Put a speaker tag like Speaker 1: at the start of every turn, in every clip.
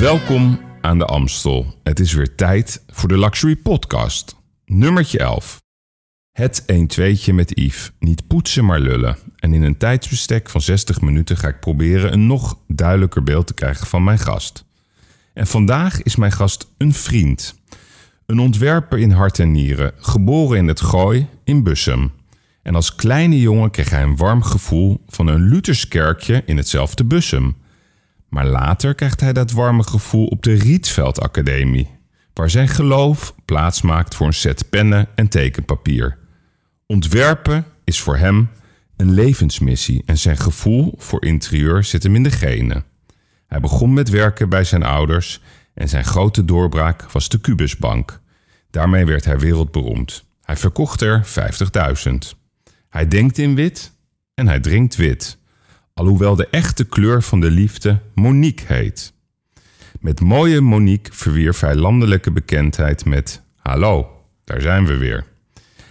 Speaker 1: Welkom aan de Amstel. Het is weer tijd voor de Luxury Podcast. Nummertje 11. Het 1-2'tje met Yves. Niet poetsen, maar lullen. En in een tijdsbestek van 60 minuten ga ik proberen een nog duidelijker beeld te krijgen van mijn gast. En vandaag is mijn gast een vriend. Een ontwerper in hart en nieren, geboren in het Gooi in Bussum. En als kleine jongen kreeg hij een warm gevoel van een Lutherskerkje in hetzelfde Bussum. Maar later krijgt hij dat warme gevoel op de Rietveld Academie, waar zijn geloof plaats maakt voor een set pennen en tekenpapier. Ontwerpen is voor hem een levensmissie en zijn gevoel voor interieur zit hem in de genen. Hij begon met werken bij zijn ouders en zijn grote doorbraak was de Cubusbank. Daarmee werd hij wereldberoemd. Hij verkocht er 50.000. Hij denkt in wit en hij drinkt wit. Alhoewel de echte kleur van de liefde Monique heet. Met mooie Monique verwierf hij landelijke bekendheid met Hallo, daar zijn we weer.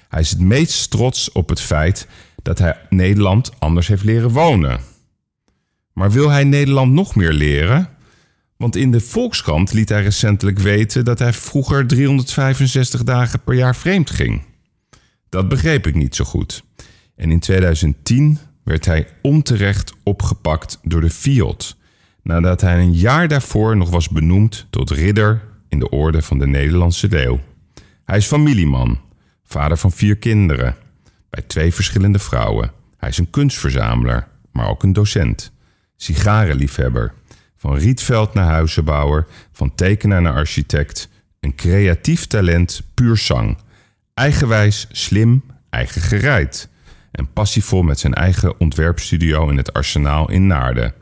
Speaker 1: Hij is het meest trots op het feit dat hij Nederland anders heeft leren wonen. Maar wil hij Nederland nog meer leren? Want in de Volkskrant liet hij recentelijk weten dat hij vroeger 365 dagen per jaar vreemd ging. Dat begreep ik niet zo goed. En in 2010 werd hij onterecht opgepakt door de FIOD, nadat hij een jaar daarvoor nog was benoemd tot ridder in de orde van de Nederlandse leeuw. Hij is familieman, vader van vier kinderen, bij twee verschillende vrouwen. Hij is een kunstverzamelaar, maar ook een docent, sigarenliefhebber, van Rietveld naar huizenbouwer, van tekenaar naar architect, een creatief talent puur zang. Eigenwijs, slim, eigen gereid. En passievol met zijn eigen ontwerpstudio in het Arsenaal in Naarden.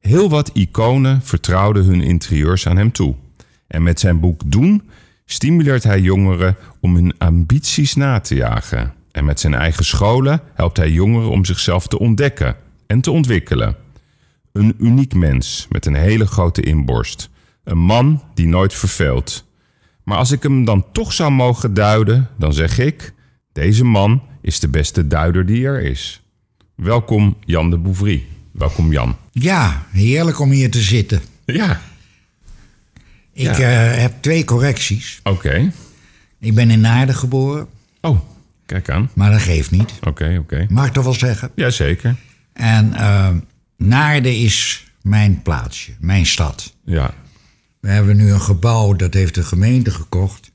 Speaker 1: Heel wat iconen vertrouwden hun interieurs aan hem toe. En met zijn boek Doen stimuleert hij jongeren om hun ambities na te jagen. En met zijn eigen scholen helpt hij jongeren om zichzelf te ontdekken en te ontwikkelen. Een uniek mens met een hele grote inborst. Een man die nooit verveelt. Maar als ik hem dan toch zou mogen duiden, dan zeg ik: deze man is de beste duider die er is. Welkom Jan de Bouvry. Welkom Jan.
Speaker 2: Ja, heerlijk om hier te zitten.
Speaker 1: Ja.
Speaker 2: Ik eh, heb twee correcties.
Speaker 1: Oké.
Speaker 2: Ik ben in Naarden geboren,
Speaker 1: Oh, kijk aan.
Speaker 2: maar dat geeft niet.
Speaker 1: Oké, oké.
Speaker 2: Mag ik dat wel zeggen?
Speaker 1: Jazeker.
Speaker 2: En eh, Naarden is mijn plaatsje, mijn stad.
Speaker 1: Ja.
Speaker 2: We hebben nu een gebouw, dat heeft de gemeente gekocht.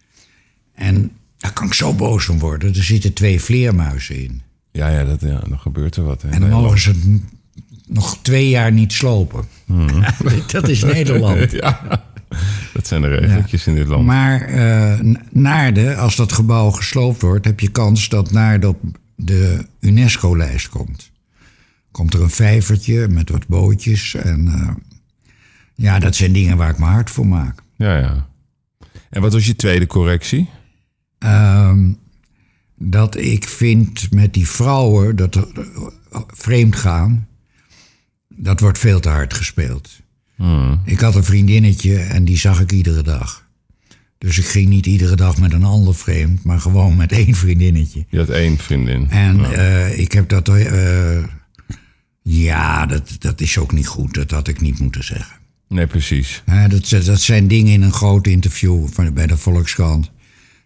Speaker 2: En daar kan ik zo boos om worden. Er zitten twee vleermuizen in.
Speaker 1: Ja, ja, dat, ja dan gebeurt er wat. Hè?
Speaker 2: En dan mogen ze het n- nog twee jaar niet slopen. dat is Nederland.
Speaker 1: Ja. Dat zijn de regeltjes in dit land.
Speaker 2: Maar eh, N- Naarden, als dat gebouw gesloopt wordt, heb je kans dat Naarden op de UNESCO-lijst komt. Komt er een vijvertje met wat bootjes. En eh, ja, dat zijn dingen waar ik me hard voor maak.
Speaker 1: Ja, ja. En wat was je tweede correctie?
Speaker 2: Ehm, dat ik vind met die vrouwen dat er- eh, vreemd gaan, dat wordt veel te hard gespeeld. Ik had een vriendinnetje en die zag ik iedere dag. Dus ik ging niet iedere dag met een ander vreemd, maar gewoon met één vriendinnetje.
Speaker 1: Je had één vriendin.
Speaker 2: En eh, ik heb dat. eh, ja, dat, dat is ook niet goed. Dat had ik niet moeten zeggen.
Speaker 1: Nee, precies.
Speaker 2: Hè, dat, dat zijn dingen in een groot interview van, bij de Volkskrant.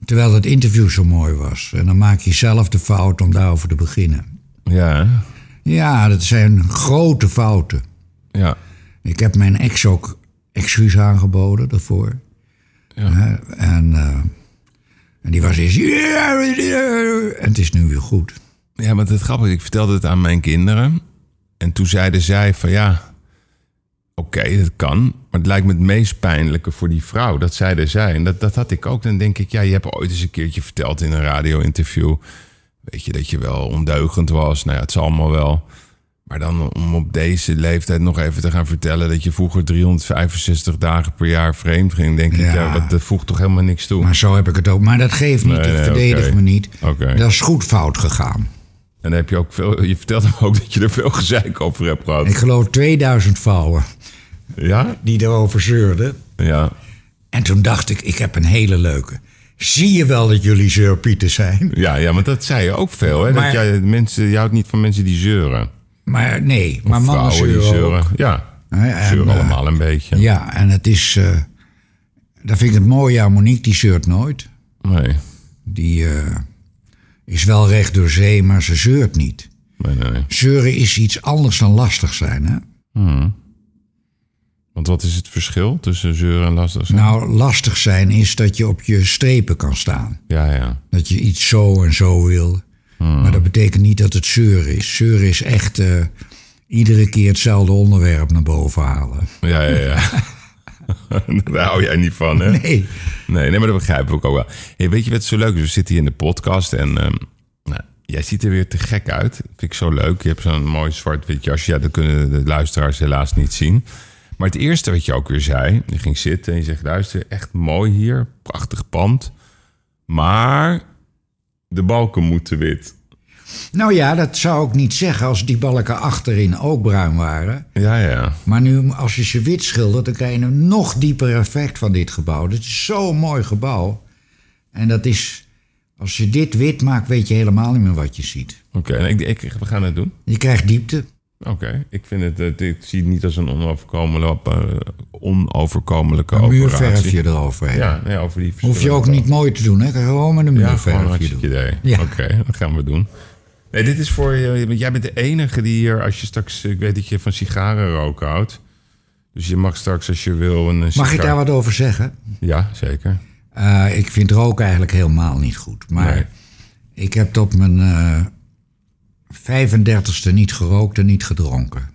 Speaker 2: Terwijl dat interview zo mooi was. En dan maak je zelf de fout om daarover te beginnen.
Speaker 1: Ja, hè?
Speaker 2: Ja, dat zijn grote fouten.
Speaker 1: ja.
Speaker 2: Ik heb mijn ex ook excuus aangeboden daarvoor. Hè, En, eh, en die was eens... En het is nu weer goed.
Speaker 1: Ja, maar het grappige, ik vertelde het aan mijn kinderen. En toen zeiden zij van ja, oké, dat kan. Maar het lijkt me het meest pijnlijke voor die vrouw. Dat zeiden zij. En dat, dat had ik ook. Dan denk ik, ja, je hebt ooit eens een keertje verteld in een radio-interview. Weet je, dat je wel ondeugend was. Nou ja, het zal allemaal wel. Maar dan om op deze leeftijd nog even te gaan vertellen... dat je vroeger 365 dagen per jaar vreemd ging... denk ik,
Speaker 2: Ja.
Speaker 1: ja, wat, dat voegt toch helemaal niks toe.
Speaker 2: Maar zo heb ik het ook. Maar dat geeft niet.
Speaker 1: Nee,
Speaker 2: ik
Speaker 1: nee,
Speaker 2: verdedig
Speaker 1: oké.
Speaker 2: me niet.
Speaker 1: Oké.
Speaker 2: Dat is goed fout gegaan.
Speaker 1: En dan heb je ook veel... Je vertelde me ook dat je er veel gezeik over hebt gehad.
Speaker 2: Ik geloof 2000 vrouwen
Speaker 1: Ja?
Speaker 2: die erover zeurden.
Speaker 1: Ja.
Speaker 2: En toen dacht ik, ik heb een hele leuke. Zie je wel dat jullie zeurpieten zijn?
Speaker 1: Ja, ja, want dat zei je ook veel. Hè?
Speaker 2: Maar-
Speaker 1: dat jij, mensen, je houdt niet van mensen die zeuren.
Speaker 2: Maar nee, maar mannen
Speaker 1: Vrouwen die
Speaker 2: zeuren ook.
Speaker 1: zeuren. Ja.
Speaker 2: Hè, en,
Speaker 1: Zeuren
Speaker 2: eh,
Speaker 1: allemaal een beetje.
Speaker 2: ja, en het is. eh, dat vind ik het mooie aan Monique, die zeurt nooit.
Speaker 1: Nee.
Speaker 2: Die eh, is wel recht door zee, maar ze zeurt niet.
Speaker 1: nee, nee, nee.
Speaker 2: Zeuren is iets anders dan lastig zijn. Hè?
Speaker 1: Want wat is het verschil tussen zeuren en lastig zijn?
Speaker 2: Nou, lastig zijn is dat je op je strepen kan staan.
Speaker 1: Ja, ja.
Speaker 2: Dat je iets zo en zo wil.
Speaker 1: Hmm.
Speaker 2: Maar dat betekent niet dat het zeuren is. Zeuren is echt eh, iedere keer hetzelfde onderwerp naar boven halen.
Speaker 1: Ja, ja, ja. Daar hou jij niet van, hè?
Speaker 2: Hey,
Speaker 1: Nee, nee, maar dat begrijp ik ook wel. Hey, weet je wat zo leuk is? We zitten hier in de podcast en ehm, nou, jij ziet er weer te gek uit. Vind ik zo leuk. Je hebt zo'n mooi zwart-wit jasje. Ja, dat kunnen de luisteraars helaas niet zien. Maar het eerste wat je ook weer zei, je ging zitten en je zegt: luister, echt mooi hier, prachtig pand. Maar de balken moeten wit.
Speaker 2: Nou ja, dat zou ik niet zeggen als die balken achterin ook bruin waren.
Speaker 1: Ja, ja.
Speaker 2: Maar nu, als je ze wit schildert, dan krijg je een nog dieper effect van dit gebouw. Dit is zo'n mooi gebouw. En dat is, als je dit wit maakt, weet je helemaal niet meer wat je ziet.
Speaker 1: Oké, en ik, ik, we gaan het doen.
Speaker 2: Je krijgt diepte.
Speaker 1: Oké, ik vind het, het- ik zie het niet als een onoverkomelijke, eh, onoverkomelijke
Speaker 2: Een
Speaker 1: operatie.
Speaker 2: muurverf je eroverheen.
Speaker 1: Ja, ja, over die
Speaker 2: Hoef je ook
Speaker 1: verschillende-
Speaker 2: niet mooi te doen, hè? Kan je Gewoon met een
Speaker 1: Ja, gewoon een
Speaker 2: muurverf je
Speaker 1: hartstikke
Speaker 2: doen.
Speaker 1: idee.
Speaker 2: Ja.
Speaker 1: Oké, dat gaan we doen. Nee, dit is voor je. want Jij bent de enige die hier, als je straks. Ik weet dat je van sigaren roken houdt. Dus je mag straks, als je wil, een eh, sigaar...
Speaker 2: Mag ik daar wat over zeggen?
Speaker 1: Ja, zeker.
Speaker 2: Eh, ik vind rook eigenlijk helemaal niet goed. Maar
Speaker 1: Nee.
Speaker 2: ik heb tot mijn eh 35ste niet gerookt en niet gedronken.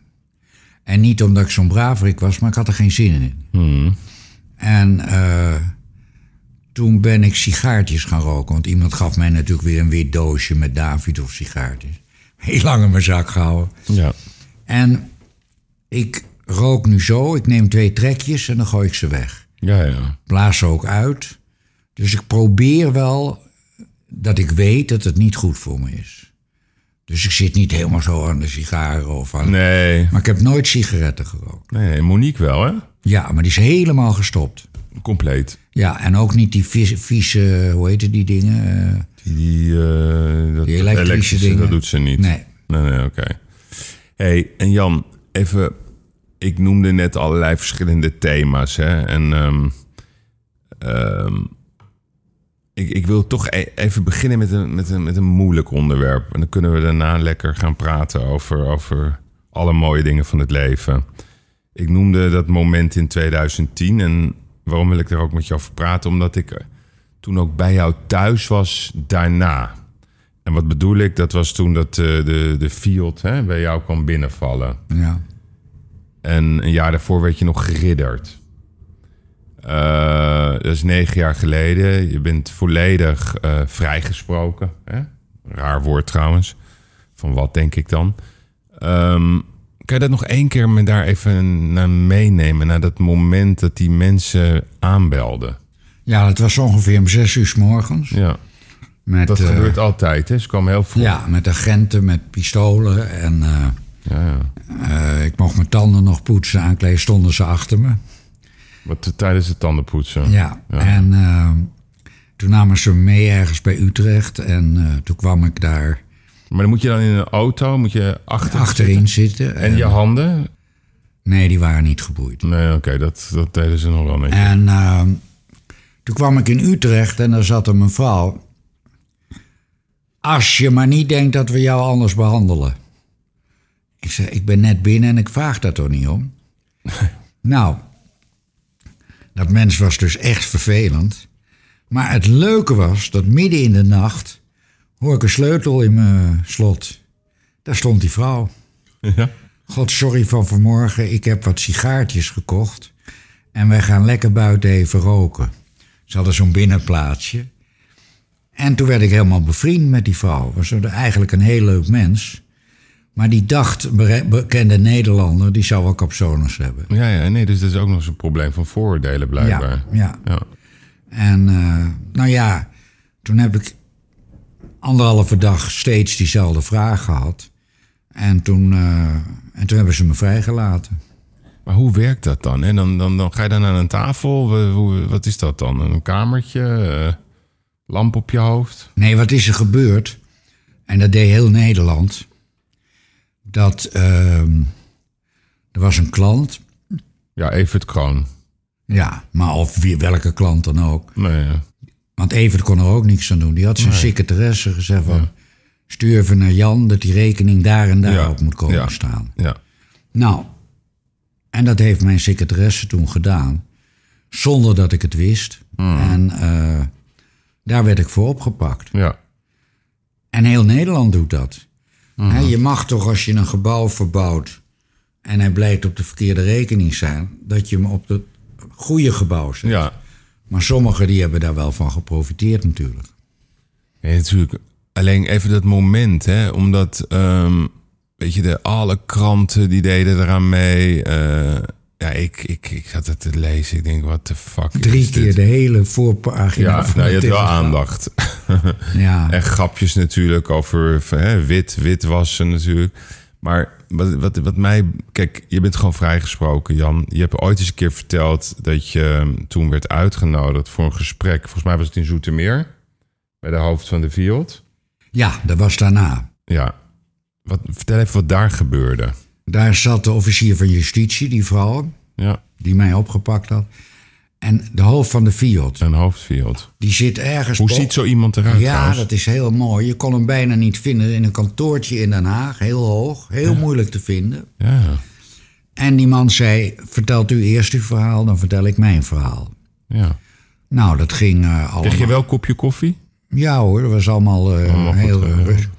Speaker 2: En niet omdat ik zo'n braverik was, maar ik had er geen zin in.
Speaker 1: Hmm.
Speaker 2: En eh, toen ben ik sigaartjes gaan roken. Want iemand gaf mij natuurlijk weer een wit doosje met David of sigaartjes. Heel lang in mijn zak gehouden.
Speaker 1: Ja.
Speaker 2: En ik rook nu zo. Ik neem twee trekjes en dan gooi ik ze weg
Speaker 1: Ja, ja.
Speaker 2: blaas ze ook uit. Dus ik probeer wel dat ik weet dat het niet goed voor me is. Dus ik zit niet helemaal zo aan de sigaren of aan.
Speaker 1: Nee.
Speaker 2: Maar ik heb nooit sigaretten gerookt.
Speaker 1: Nee, Monique wel, hè?
Speaker 2: Ja, maar die is helemaal gestopt.
Speaker 1: Compleet.
Speaker 2: Ja, en ook niet die vieze, vieze hoe heet die dingen? eh,
Speaker 1: Die, die, eh, dat
Speaker 2: Die elektrische dingen.
Speaker 1: dat doet ze niet.
Speaker 2: Nee.
Speaker 1: Nee, nee, oké. hey, en Jan, even... Ik noemde net allerlei verschillende thema's, hè. En ehm, ehm, ik, ik wil toch e- even beginnen met een, met, een, met een moeilijk onderwerp. En dan kunnen we daarna lekker gaan praten over, over alle mooie dingen van het leven. Ik noemde dat moment in 2010. En waarom wil ik daar ook met jou over praten? Omdat ik eh, toen ook bij jou thuis was daarna. En wat bedoel ik? Dat was toen dat eh, de, de Field hè, bij jou kwam binnenvallen.
Speaker 2: ja.
Speaker 1: En een jaar daarvoor werd je nog geridderd. Eh, dat is negen jaar geleden. Je bent volledig eh, vrijgesproken. Hè? Raar woord trouwens. Van wat denk ik dan? Ehm, kan je dat nog één keer me daar even naar meenemen? Naar dat moment dat die mensen aanbelden.
Speaker 2: ja, dat was ongeveer om zes uur s morgens.
Speaker 1: Ja,
Speaker 2: Met,
Speaker 1: dat
Speaker 2: eh,
Speaker 1: gebeurt altijd. Hè? Ze kwamen heel vroeg.
Speaker 2: Ja, met agenten, met pistolen. En eh,
Speaker 1: Ja, ja.
Speaker 2: eh, ik mocht mijn tanden nog poetsen. Aankleden stonden ze achter me.
Speaker 1: Wat, eh, tijdens het tandenpoetsen.
Speaker 2: Ja, en ehm, toen namen ze me mee ergens bij Utrecht. En eh, toen kwam ik daar
Speaker 1: Maar dan moet je dan in een auto, moet je achter...
Speaker 2: achterin zitten.
Speaker 1: En
Speaker 2: En,
Speaker 1: je handen?
Speaker 2: nee, die waren niet geboeid.
Speaker 1: Nee, oké, dat, dat deden ze nog wel netjes.
Speaker 2: En ehm, toen kwam ik in Utrecht en daar zat een mevrouw. Als je maar niet denkt dat we jou anders behandelen. Ik zei, ik ben net binnen en ik vraag daar toch niet om. nou, dat mens was dus echt vervelend. Maar het leuke was dat midden in de nacht hoor ik een sleutel in mijn slot. Daar stond die vrouw.
Speaker 1: Ja.
Speaker 2: God, sorry van vanmorgen. Ik heb wat sigaartjes gekocht. En wij gaan lekker buiten even roken. Ze hadden zo'n binnenplaatsje. En toen werd ik helemaal bevriend met die vrouw. Was een- eigenlijk een heel leuk mens. Maar die dacht, bere- bekende Nederlander, die zou wel capsones hebben.
Speaker 1: Ja, ja, nee, dus dat is ook nog zo'n probleem van vooroordelen blijkbaar.
Speaker 2: Ja, ja.
Speaker 1: Ja.
Speaker 2: En eh, nou ja, toen heb ik anderhalve dag steeds diezelfde vraag gehad. En toen, eh, en toen hebben ze me vrijgelaten.
Speaker 1: Maar hoe werkt dat dan? hè? dan, dan, dan ga je dan aan een tafel, We- hoe, wat is dat dan? Een kamertje, eh, lamp op je hoofd?
Speaker 2: Nee, wat is er gebeurd? En dat deed heel Nederland. Dat ehm, er was een klant
Speaker 1: Ja, Evert Kroon.
Speaker 2: Ja, maar of wie, welke klant dan ook.
Speaker 1: Nee, eh, ja.
Speaker 2: Want Evert kon er ook niks aan doen. Die had zijn secretaresse gezegd van... stuur even naar Jan dat die rekening daar en daar
Speaker 1: Ja,
Speaker 2: op moet komen
Speaker 1: ja.
Speaker 2: staan.
Speaker 1: ja.
Speaker 2: Nou, en dat heeft mijn secretaresse toen gedaan. Zonder dat ik het wist.
Speaker 1: Hmm.
Speaker 2: En eh, daar werd ik voor opgepakt.
Speaker 1: ja.
Speaker 2: En heel Nederland doet dat.
Speaker 1: Mhm.
Speaker 2: Hè, je mag toch als je een gebouw verbouwt en hij blijkt op de verkeerde rekening zijn, dat je hem op het goede gebouw zet.
Speaker 1: Ja,
Speaker 2: Maar sommigen die hebben daar wel van geprofiteerd natuurlijk.
Speaker 1: Nee, natuurlijk. Alleen even dat moment, hè? Omdat, ehm, weet je, de, alle kranten die deden eraan mee. Eh, ja, ik, ik, ik zat het te lezen. Ik denk, wat de fuck.
Speaker 2: Drie
Speaker 1: is dit?
Speaker 2: keer de hele voorpagina
Speaker 1: Ja,
Speaker 2: van
Speaker 1: nou, je
Speaker 2: de
Speaker 1: hebt wel
Speaker 2: Telegraaf.
Speaker 1: aandacht.
Speaker 2: Ja,
Speaker 1: en grapjes natuurlijk over van, hè, wit, witwassen natuurlijk. Maar wat, wat, wat mij... Kijk, je bent gewoon vrijgesproken, Jan. Je hebt ooit eens een keer verteld dat je ehm, toen werd uitgenodigd voor een gesprek. Volgens mij was het in Zoetermeer, bij de hoofd van de Fiat.
Speaker 2: ja, dat was daarna.
Speaker 1: Ja. Wat, vertel even wat daar gebeurde.
Speaker 2: Daar zat de officier van justitie, die vrouw,
Speaker 1: Ja.
Speaker 2: die mij opgepakt had. En de hoofd van de FIOD,
Speaker 1: Een hoofdfield.
Speaker 2: die zit ergens...
Speaker 1: Hoe
Speaker 2: bo-
Speaker 1: ziet zo iemand eruit
Speaker 2: Ja,
Speaker 1: trouwens?
Speaker 2: dat is heel mooi. Je kon hem bijna niet vinden in een kantoortje in Den Haag, heel hoog, heel moeilijk te vinden.
Speaker 1: Ja,
Speaker 2: En die man zei: Vertelt u eerst uw verhaal, dan vertel ik mijn verhaal.
Speaker 1: ja.
Speaker 2: Nou, dat ging eh allemaal.
Speaker 1: Kreeg je wel een kopje koffie?
Speaker 2: Ja hoor, dat was allemaal eh,
Speaker 1: Allemaal goed,
Speaker 2: heel
Speaker 1: eh,
Speaker 2: rustig.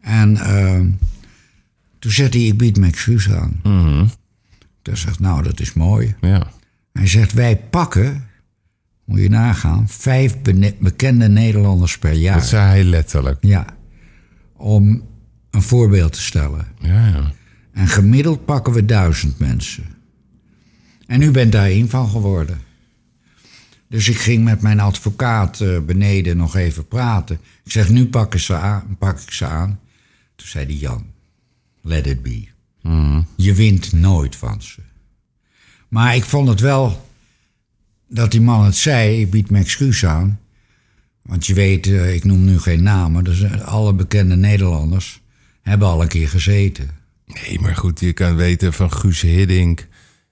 Speaker 2: En eh, toen zei hij: Ik bied mijn excuus aan.
Speaker 1: Mhm.
Speaker 2: Toen zegt Nou, dat is mooi.
Speaker 1: Ja.
Speaker 2: Hij zegt: Wij pakken, moet je nagaan, vijf bene- bekende Nederlanders per jaar.
Speaker 1: Dat zei hij letterlijk.
Speaker 2: Ja, om een voorbeeld te stellen.
Speaker 1: Ja, ja.
Speaker 2: En gemiddeld pakken we duizend mensen. En u bent daar één van geworden. Dus ik ging met mijn advocaat eh, beneden nog even praten. Ik zeg, nu pakken ze aan, pak ik ze aan. Toen zei die Jan, let it be. Je wint nooit van ze. Maar ik vond het wel dat die man het zei, ik bied mijn excuus aan. Want je weet, eh, ik noem nu geen namen, dus eh, alle bekende Nederlanders hebben al een keer gezeten.
Speaker 1: Nee, maar goed, je kan weten van Guus Hiddink.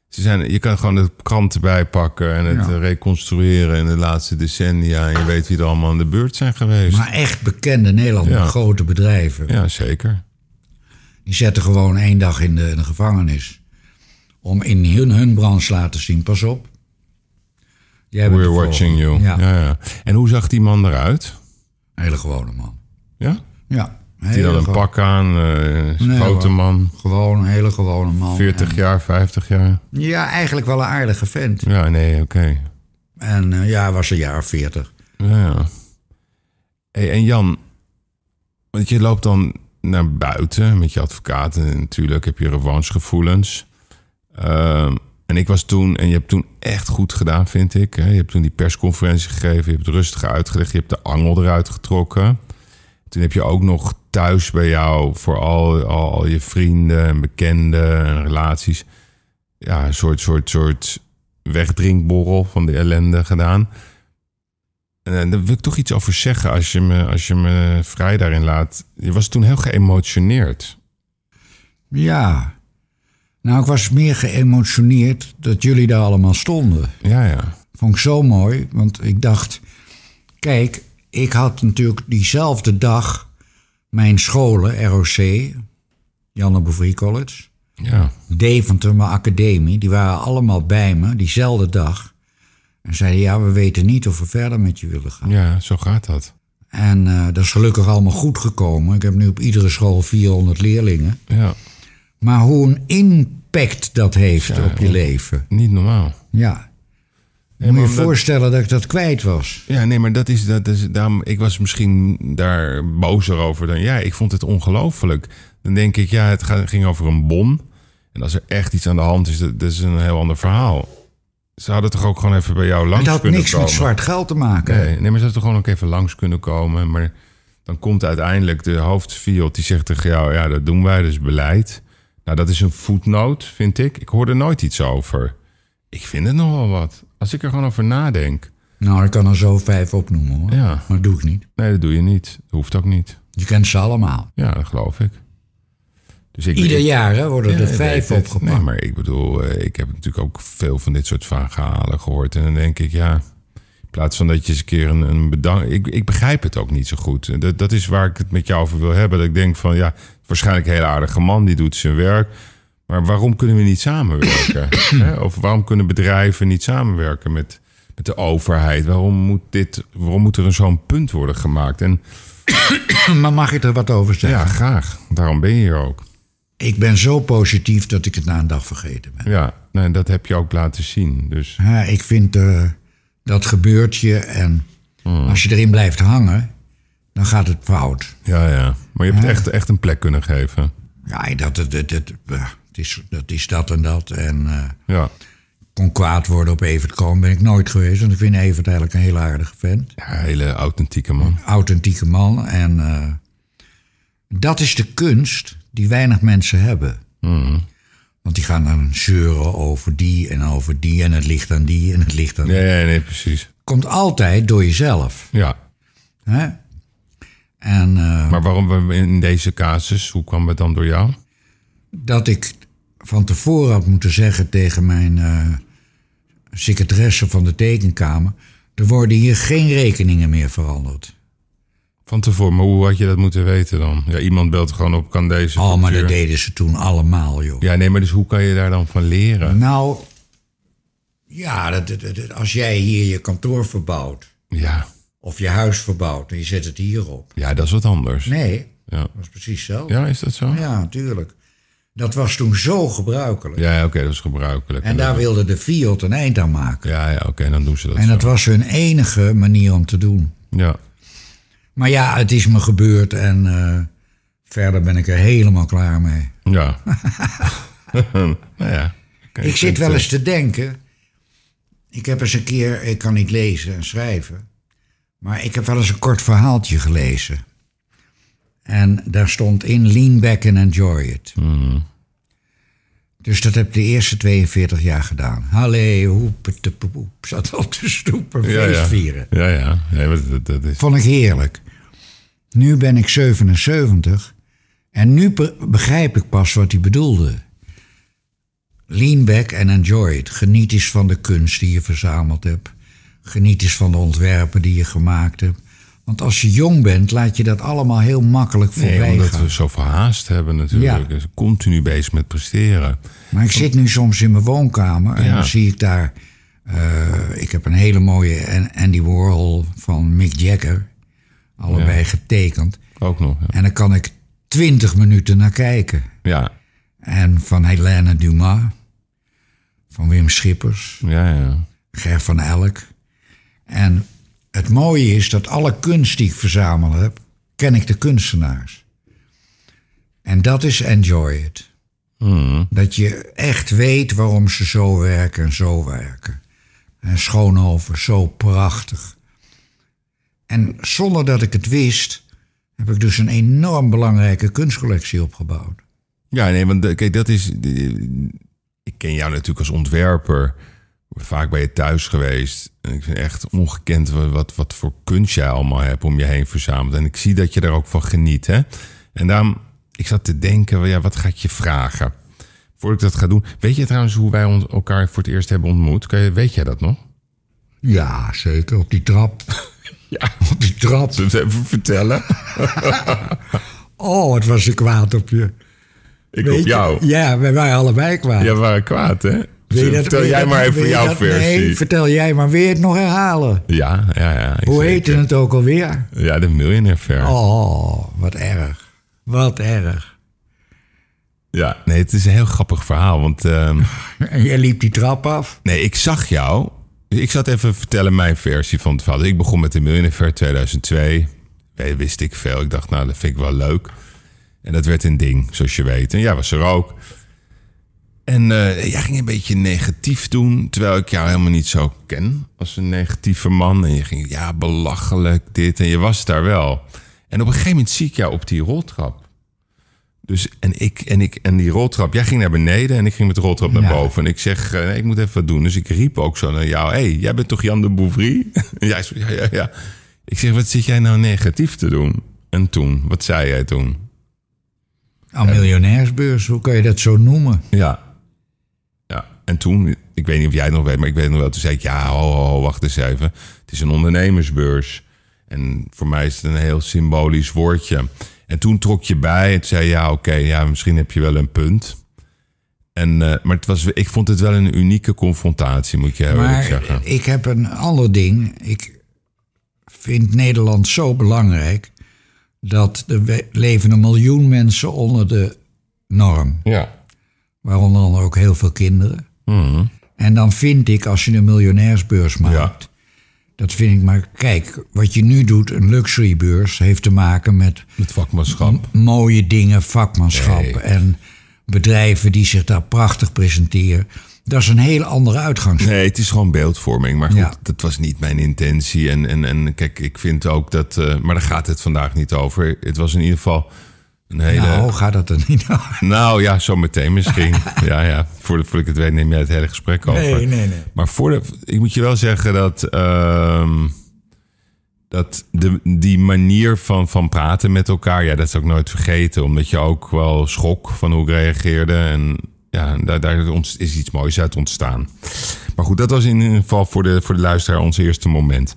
Speaker 1: Ze zijn, je kan gewoon de krant erbij pakken en het
Speaker 2: Ja.
Speaker 1: eh, reconstrueren in de laatste decennia. En je weet wie er allemaal aan de beurt zijn geweest.
Speaker 2: Maar echt bekende Nederlandse
Speaker 1: Ja.
Speaker 2: grote bedrijven.
Speaker 1: Ja, zeker.
Speaker 2: Die zetten gewoon één dag in de, in de gevangenis. Om in hun, hun branche laten zien. Pas op. Jij bent
Speaker 1: We're
Speaker 2: de volgende.
Speaker 1: watching you.
Speaker 2: Ja,
Speaker 1: Ja, ja. En hoe zag die man eruit?
Speaker 2: Een hele gewone man.
Speaker 1: Ja?
Speaker 2: Ja.
Speaker 1: Die had een pak aan, eh grote man.
Speaker 2: Gewoon een hele gewone man.
Speaker 1: 40 jaar, 50 jaar.
Speaker 2: En- ja, eigenlijk wel een aardige vent.
Speaker 1: Ja, nee, oké.
Speaker 2: En eh, ja, hij was een jaar of veertig.
Speaker 1: Ja, ja. Hey, en Jan, want je loopt dan naar buiten met je advocaat en natuurlijk heb je revanchegevoelens. Ehm, en ik was toen, en je hebt toen echt goed gedaan, vind ik. hè. Je hebt toen die persconferentie gegeven, je hebt het rustig uitgelegd, je hebt de angel eruit getrokken. Toen heb je ook nog thuis bij jou voor al, al, al je vrienden en bekenden en relaties. Ja, een soort, soort, soort wegdrinkborrel van de ellende gedaan. En eh, daar wil ik toch iets over zeggen als je me, als je me vrij daarin laat. Je was toen heel geëmotioneerd.
Speaker 2: Ja. Nou, ik was meer geëmotioneerd dat jullie daar allemaal stonden.
Speaker 1: Ja, ja.
Speaker 2: Vond ik zo mooi, want ik dacht... Kijk, ik had natuurlijk diezelfde dag mijn scholen, ROC, Janne Bouverie College...
Speaker 1: Ja,
Speaker 2: Deventer, mijn academie, die waren allemaal bij me, diezelfde dag. En zeiden, ja, we weten niet of we verder met je willen gaan.
Speaker 1: ja zo gaat dat.
Speaker 2: En eh, dat is gelukkig allemaal goed gekomen. Ik heb nu op iedere school 400 leerlingen.
Speaker 1: Ja,
Speaker 2: Maar hoe een impact dat heeft op je leven.
Speaker 1: niet normaal.
Speaker 2: Ja.
Speaker 1: Nee,
Speaker 2: Moet je
Speaker 1: maar
Speaker 2: je
Speaker 1: omdat-
Speaker 2: voorstellen dat ik dat kwijt was.
Speaker 1: Ja, nee, maar dat is, dat is daarom, ik was misschien daar bozer over dan jij. Ik vond het ongelooflijk. Dan denk ik, ja, het ga- ging over een bom. En als er echt iets aan de hand is, dat, dat is een heel ander verhaal. Ze hadden toch ook gewoon even bij jou langs
Speaker 2: Het
Speaker 1: kunnen
Speaker 2: had niks
Speaker 1: komen?
Speaker 2: met zwart geld te maken.
Speaker 1: Eh, Nee, nee, maar ze hadden toch gewoon ook even langs kunnen komen. Maar dan komt uiteindelijk de hoofdfield die zegt tegen jou... ja, dat doen wij, dus beleid. Nou, dat is een voetnoot, vind ik. Ik hoor er nooit iets over. Ik vind het nog wel wat. Als ik er gewoon over nadenk.
Speaker 2: Nou, ik kan er zo vijf opnoemen hoor.
Speaker 1: Ja.
Speaker 2: Maar dat doe ik niet.
Speaker 1: Nee, dat doe je niet. Dat hoeft ook niet.
Speaker 2: Je kent ze allemaal.
Speaker 1: Ja, dat geloof ik. Dus ik,
Speaker 2: Ieder
Speaker 1: ik-
Speaker 2: jaar hè, worden
Speaker 1: Ja,
Speaker 2: er
Speaker 1: ik
Speaker 2: vijf
Speaker 1: weet het.
Speaker 2: opgepakt.
Speaker 1: Nee, maar ik bedoel, eh, ik heb natuurlijk ook veel van dit soort verhalen gehoord. En dan denk ik, ja, in plaats van dat je eens een keer een, een bedankt... Ik, ik begrijp het ook niet zo goed. En Dat, dat is waar ik het met jou over wil hebben. Dat ik denk van, ja, waarschijnlijk een hele aardige man, die doet zijn werk. Maar waarom kunnen we niet samenwerken? Hè? of waarom kunnen bedrijven niet samenwerken met, met de overheid? Waarom moet, dit, waarom moet er een zo'n punt worden gemaakt? En
Speaker 2: Maar mag ik er wat over zeggen?
Speaker 1: ja, graag. Daarom ben je hier ook.
Speaker 2: Ik ben zo positief dat ik het na een dag vergeten ben.
Speaker 1: Ja, nou, dat heb je ook laten zien. Dus...
Speaker 2: Ja, ik vind eh, dat gebeurt je en
Speaker 1: Hmm.
Speaker 2: als je erin blijft hangen, dan gaat het fout.
Speaker 1: Ja, ja. Maar je hebt het echt, echt een plek kunnen geven.
Speaker 2: Ja, dat, dat, dat, dat, eh, het is, dat is dat en dat. En eh,
Speaker 1: Ja.
Speaker 2: kon kwaad worden op Evert Koon ben ik nooit geweest. Want ik vind Evert eigenlijk een heel aardige vent.
Speaker 1: ja hele authentieke man.
Speaker 2: Authentieke man. En eh, dat is de kunst die weinig mensen hebben. Want die gaan dan zeuren over die en over die en het ligt aan die en het ligt aan die.
Speaker 1: Nee, nee, nee, precies.
Speaker 2: Komt altijd door jezelf.
Speaker 1: Ja.
Speaker 2: Hè? En eh,
Speaker 1: Maar waarom we in deze casus, hoe kwam het dan door jou?
Speaker 2: dat ik van tevoren had moeten zeggen tegen mijn eh, secretaresse van de tekenkamer... er worden hier geen rekeningen meer veranderd.
Speaker 1: Van tevoren, maar hoe had je dat moeten weten dan? Ja, iemand belt gewoon op, kan deze
Speaker 2: Oh, maar dat
Speaker 1: factuur-
Speaker 2: deden ze toen allemaal, joh.
Speaker 1: Ja, nee, maar dus hoe kan je daar dan van leren?
Speaker 2: Nou, ja, dat, dat- dat- als jij hier je kantoor verbouwt
Speaker 1: Ja,
Speaker 2: of je huis verbouwt en je zet het hierop.
Speaker 1: ja dat is wat anders.
Speaker 2: Nee,
Speaker 1: Ja.
Speaker 2: dat was precies zo.
Speaker 1: ja, is dat zo? Ja,
Speaker 2: Ja, tuurlijk. Dat was toen zo gebruikelijk.
Speaker 1: oké, dat is gebruikelijk.
Speaker 2: En daar wilde de Fiat een eind aan maken.
Speaker 1: Ja, ja oké, dan doen ze dat
Speaker 2: En dat
Speaker 1: zo.
Speaker 2: was hun enige manier om te doen.
Speaker 1: Ja.
Speaker 2: Maar ja, het is me gebeurd en eh, verder ben ik er helemaal klaar mee.
Speaker 1: Ja. nou ja. Oké,
Speaker 2: Ik zit
Speaker 1: vind,
Speaker 2: wel
Speaker 1: eh,
Speaker 2: eens te denken. Ik heb eens een keer. Ik kan niet lezen en schrijven. Maar ik heb wel eens een kort verhaaltje gelezen. En daar stond in: Lean back and enjoy it.
Speaker 1: Hmm.
Speaker 2: Dus dat heb ik de eerste 42 jaar gedaan. Hallee, hoepetepoep. Zat op de stoep en
Speaker 1: Ja,
Speaker 2: feest
Speaker 1: ja.
Speaker 2: vieren.
Speaker 1: Ja, ja. Nee, maar dat, dat is...
Speaker 2: Vond ik heerlijk. Nu ben ik 77 en nu be- begrijp ik pas wat hij bedoelde. Lean back and enjoy it. Geniet eens van de kunst die je verzameld hebt. Geniet eens van de ontwerpen die je gemaakt hebt. Want als je jong bent, laat je dat allemaal heel makkelijk voorbij
Speaker 1: Nee, omdat
Speaker 2: gaan.
Speaker 1: we zoveel haast hebben natuurlijk.
Speaker 2: Ja.
Speaker 1: Dus continu bezig met presteren.
Speaker 2: Maar ik zit nu soms in mijn woonkamer en
Speaker 1: Ja.
Speaker 2: dan zie ik daar... eh, ik heb een hele mooie An- Andy Warhol van Mick Jagger. Allebei getekend.
Speaker 1: Ook nog. Ja.
Speaker 2: En dan kan ik twintig minuten naar kijken.
Speaker 1: Ja,
Speaker 2: En van Helene Dumas, van Wim Schippers,
Speaker 1: ja, ja.
Speaker 2: Ger van Elk. En het mooie is dat alle kunst die ik verzameld heb, ken ik de kunstenaars. En dat is enjoy it. Dat je echt weet waarom ze zo werken en zo werken. En Schoonhoven, zo prachtig. En zonder dat ik het wist, heb ik dus een enorm belangrijke kunstcollectie opgebouwd.
Speaker 1: Ja, nee, want eh, kijk, dat is... eh, Ik ken jou natuurlijk als ontwerper. Vaak ben je thuis geweest. En ik vind echt ongekend wa- wat, wat voor kunst jij allemaal hebt om je heen verzameld. En ik zie dat je daar ook van geniet, hè. En daarom, ik zat te denken, wel, ja, wat ga ik je vragen? Voordat ik dat ga doen. Weet je trouwens hoe wij ons- elkaar voor het eerst hebben ontmoet? Kan je- Weet jij dat nog?
Speaker 2: Ja, zeker. Op die trap.
Speaker 1: Ja.
Speaker 2: Op die trap.
Speaker 1: Zullen we het even vertellen?
Speaker 2: Oh, het was ik kwaad op je.
Speaker 1: Ik
Speaker 2: Weet
Speaker 1: op
Speaker 2: je-
Speaker 1: jou.
Speaker 2: Ja, wij waren allebei kwaad.
Speaker 1: Ja, we waren kwaad, hè?
Speaker 2: Wil je dat-
Speaker 1: vertel
Speaker 2: wil je
Speaker 1: jij
Speaker 2: dat-
Speaker 1: maar
Speaker 2: wil
Speaker 1: even
Speaker 2: je
Speaker 1: jouw
Speaker 2: dat-
Speaker 1: versie.
Speaker 2: Nee, vertel jij maar. Wil je het nog herhalen?
Speaker 1: Ja, ja, ja. ik
Speaker 2: Hoe
Speaker 1: zeker.
Speaker 2: heette het ook alweer?
Speaker 1: Ja, de Millionaire Fair.
Speaker 2: Oh, wat erg. Wat erg.
Speaker 1: Ja, nee, het is een heel grappig verhaal. Want ehm,
Speaker 2: En jij liep die trap af.
Speaker 1: nee, ik zag jou. Ik zat even vertellen mijn versie van het verhaal. Dus ik begon met de Millionaire Fair 2002. Nee, wist ik veel. Ik dacht, nou, dat vind ik wel leuk. En dat werd een ding, zoals je weet. En jij was er ook. En eh, jij ging een beetje negatief doen, terwijl ik jou helemaal niet zo ken als een negatieve man. En je ging, ja, belachelijk dit. En je was daar wel. En op een gegeven moment zie ik jou op die roltrap. Dus en ik en ik en die roltrap. Jij ging naar beneden en ik ging met de roltrap naar
Speaker 2: Ja.
Speaker 1: boven. En ik zeg, eh, nee, ik moet even wat doen. Dus ik riep ook zo naar jou. hey, jij bent toch Jan de Bouvry? En jij zo, ja, ja, ja. Ik zeg, wat zit jij nou negatief te doen? En toen, wat zei jij toen?
Speaker 2: Aan miljonairsbeurs, hoe kan je dat zo noemen?
Speaker 1: Ja. ja. En toen, ik weet niet of jij het nog weet, maar ik weet nog wel. Toen zei ik, ja, ho, ho, ho, wacht eens even. Het is een ondernemersbeurs. En voor mij is het een heel symbolisch woordje. En toen trok je bij en toen zei je, ja, oké, ja, misschien heb je wel een punt. En, eh, maar het was, ik vond het wel een unieke confrontatie, moet je heel eerlijk
Speaker 2: Maar
Speaker 1: zeggen.
Speaker 2: ik heb een ander ding. Ik vind Nederland zo belangrijk dat er we- leven een miljoen mensen onder de norm.
Speaker 1: Ja.
Speaker 2: Waaronder dan ook heel veel kinderen. En dan vind ik, als je een miljonairsbeurs maakt, dat vind ik maar, kijk, wat je nu doet, een luxurybeurs, heeft te maken met
Speaker 1: Het vakmanschap.
Speaker 2: mooie dingen, vakmanschap
Speaker 1: Nee.
Speaker 2: en bedrijven die zich daar prachtig presenteren. Dat is een heel andere uitgangspunt.
Speaker 1: Nee, het is gewoon beeldvorming. Maar goed,
Speaker 2: Ja.
Speaker 1: dat was niet mijn intentie. En, en, en kijk, ik vind ook dat... eh, maar daar gaat het vandaag niet over. Het was in ieder geval een hele...
Speaker 2: Nou, gaat dat er niet over?
Speaker 1: Nou ja, zo meteen misschien. ja, ja. Voordat, voordat ik het weet neem jij het hele gesprek over.
Speaker 2: Nee, nee, nee.
Speaker 1: Maar voor de, ik moet je wel zeggen dat... ehm, dat de, die manier van, van praten met elkaar... Ja, dat is ook nooit vergeten. Omdat je ook wel schrok van hoe ik reageerde. En ja, daar, daar ont- is iets moois uit ontstaan. Maar goed, dat was in ieder geval voor de, voor de luisteraar ons eerste moment.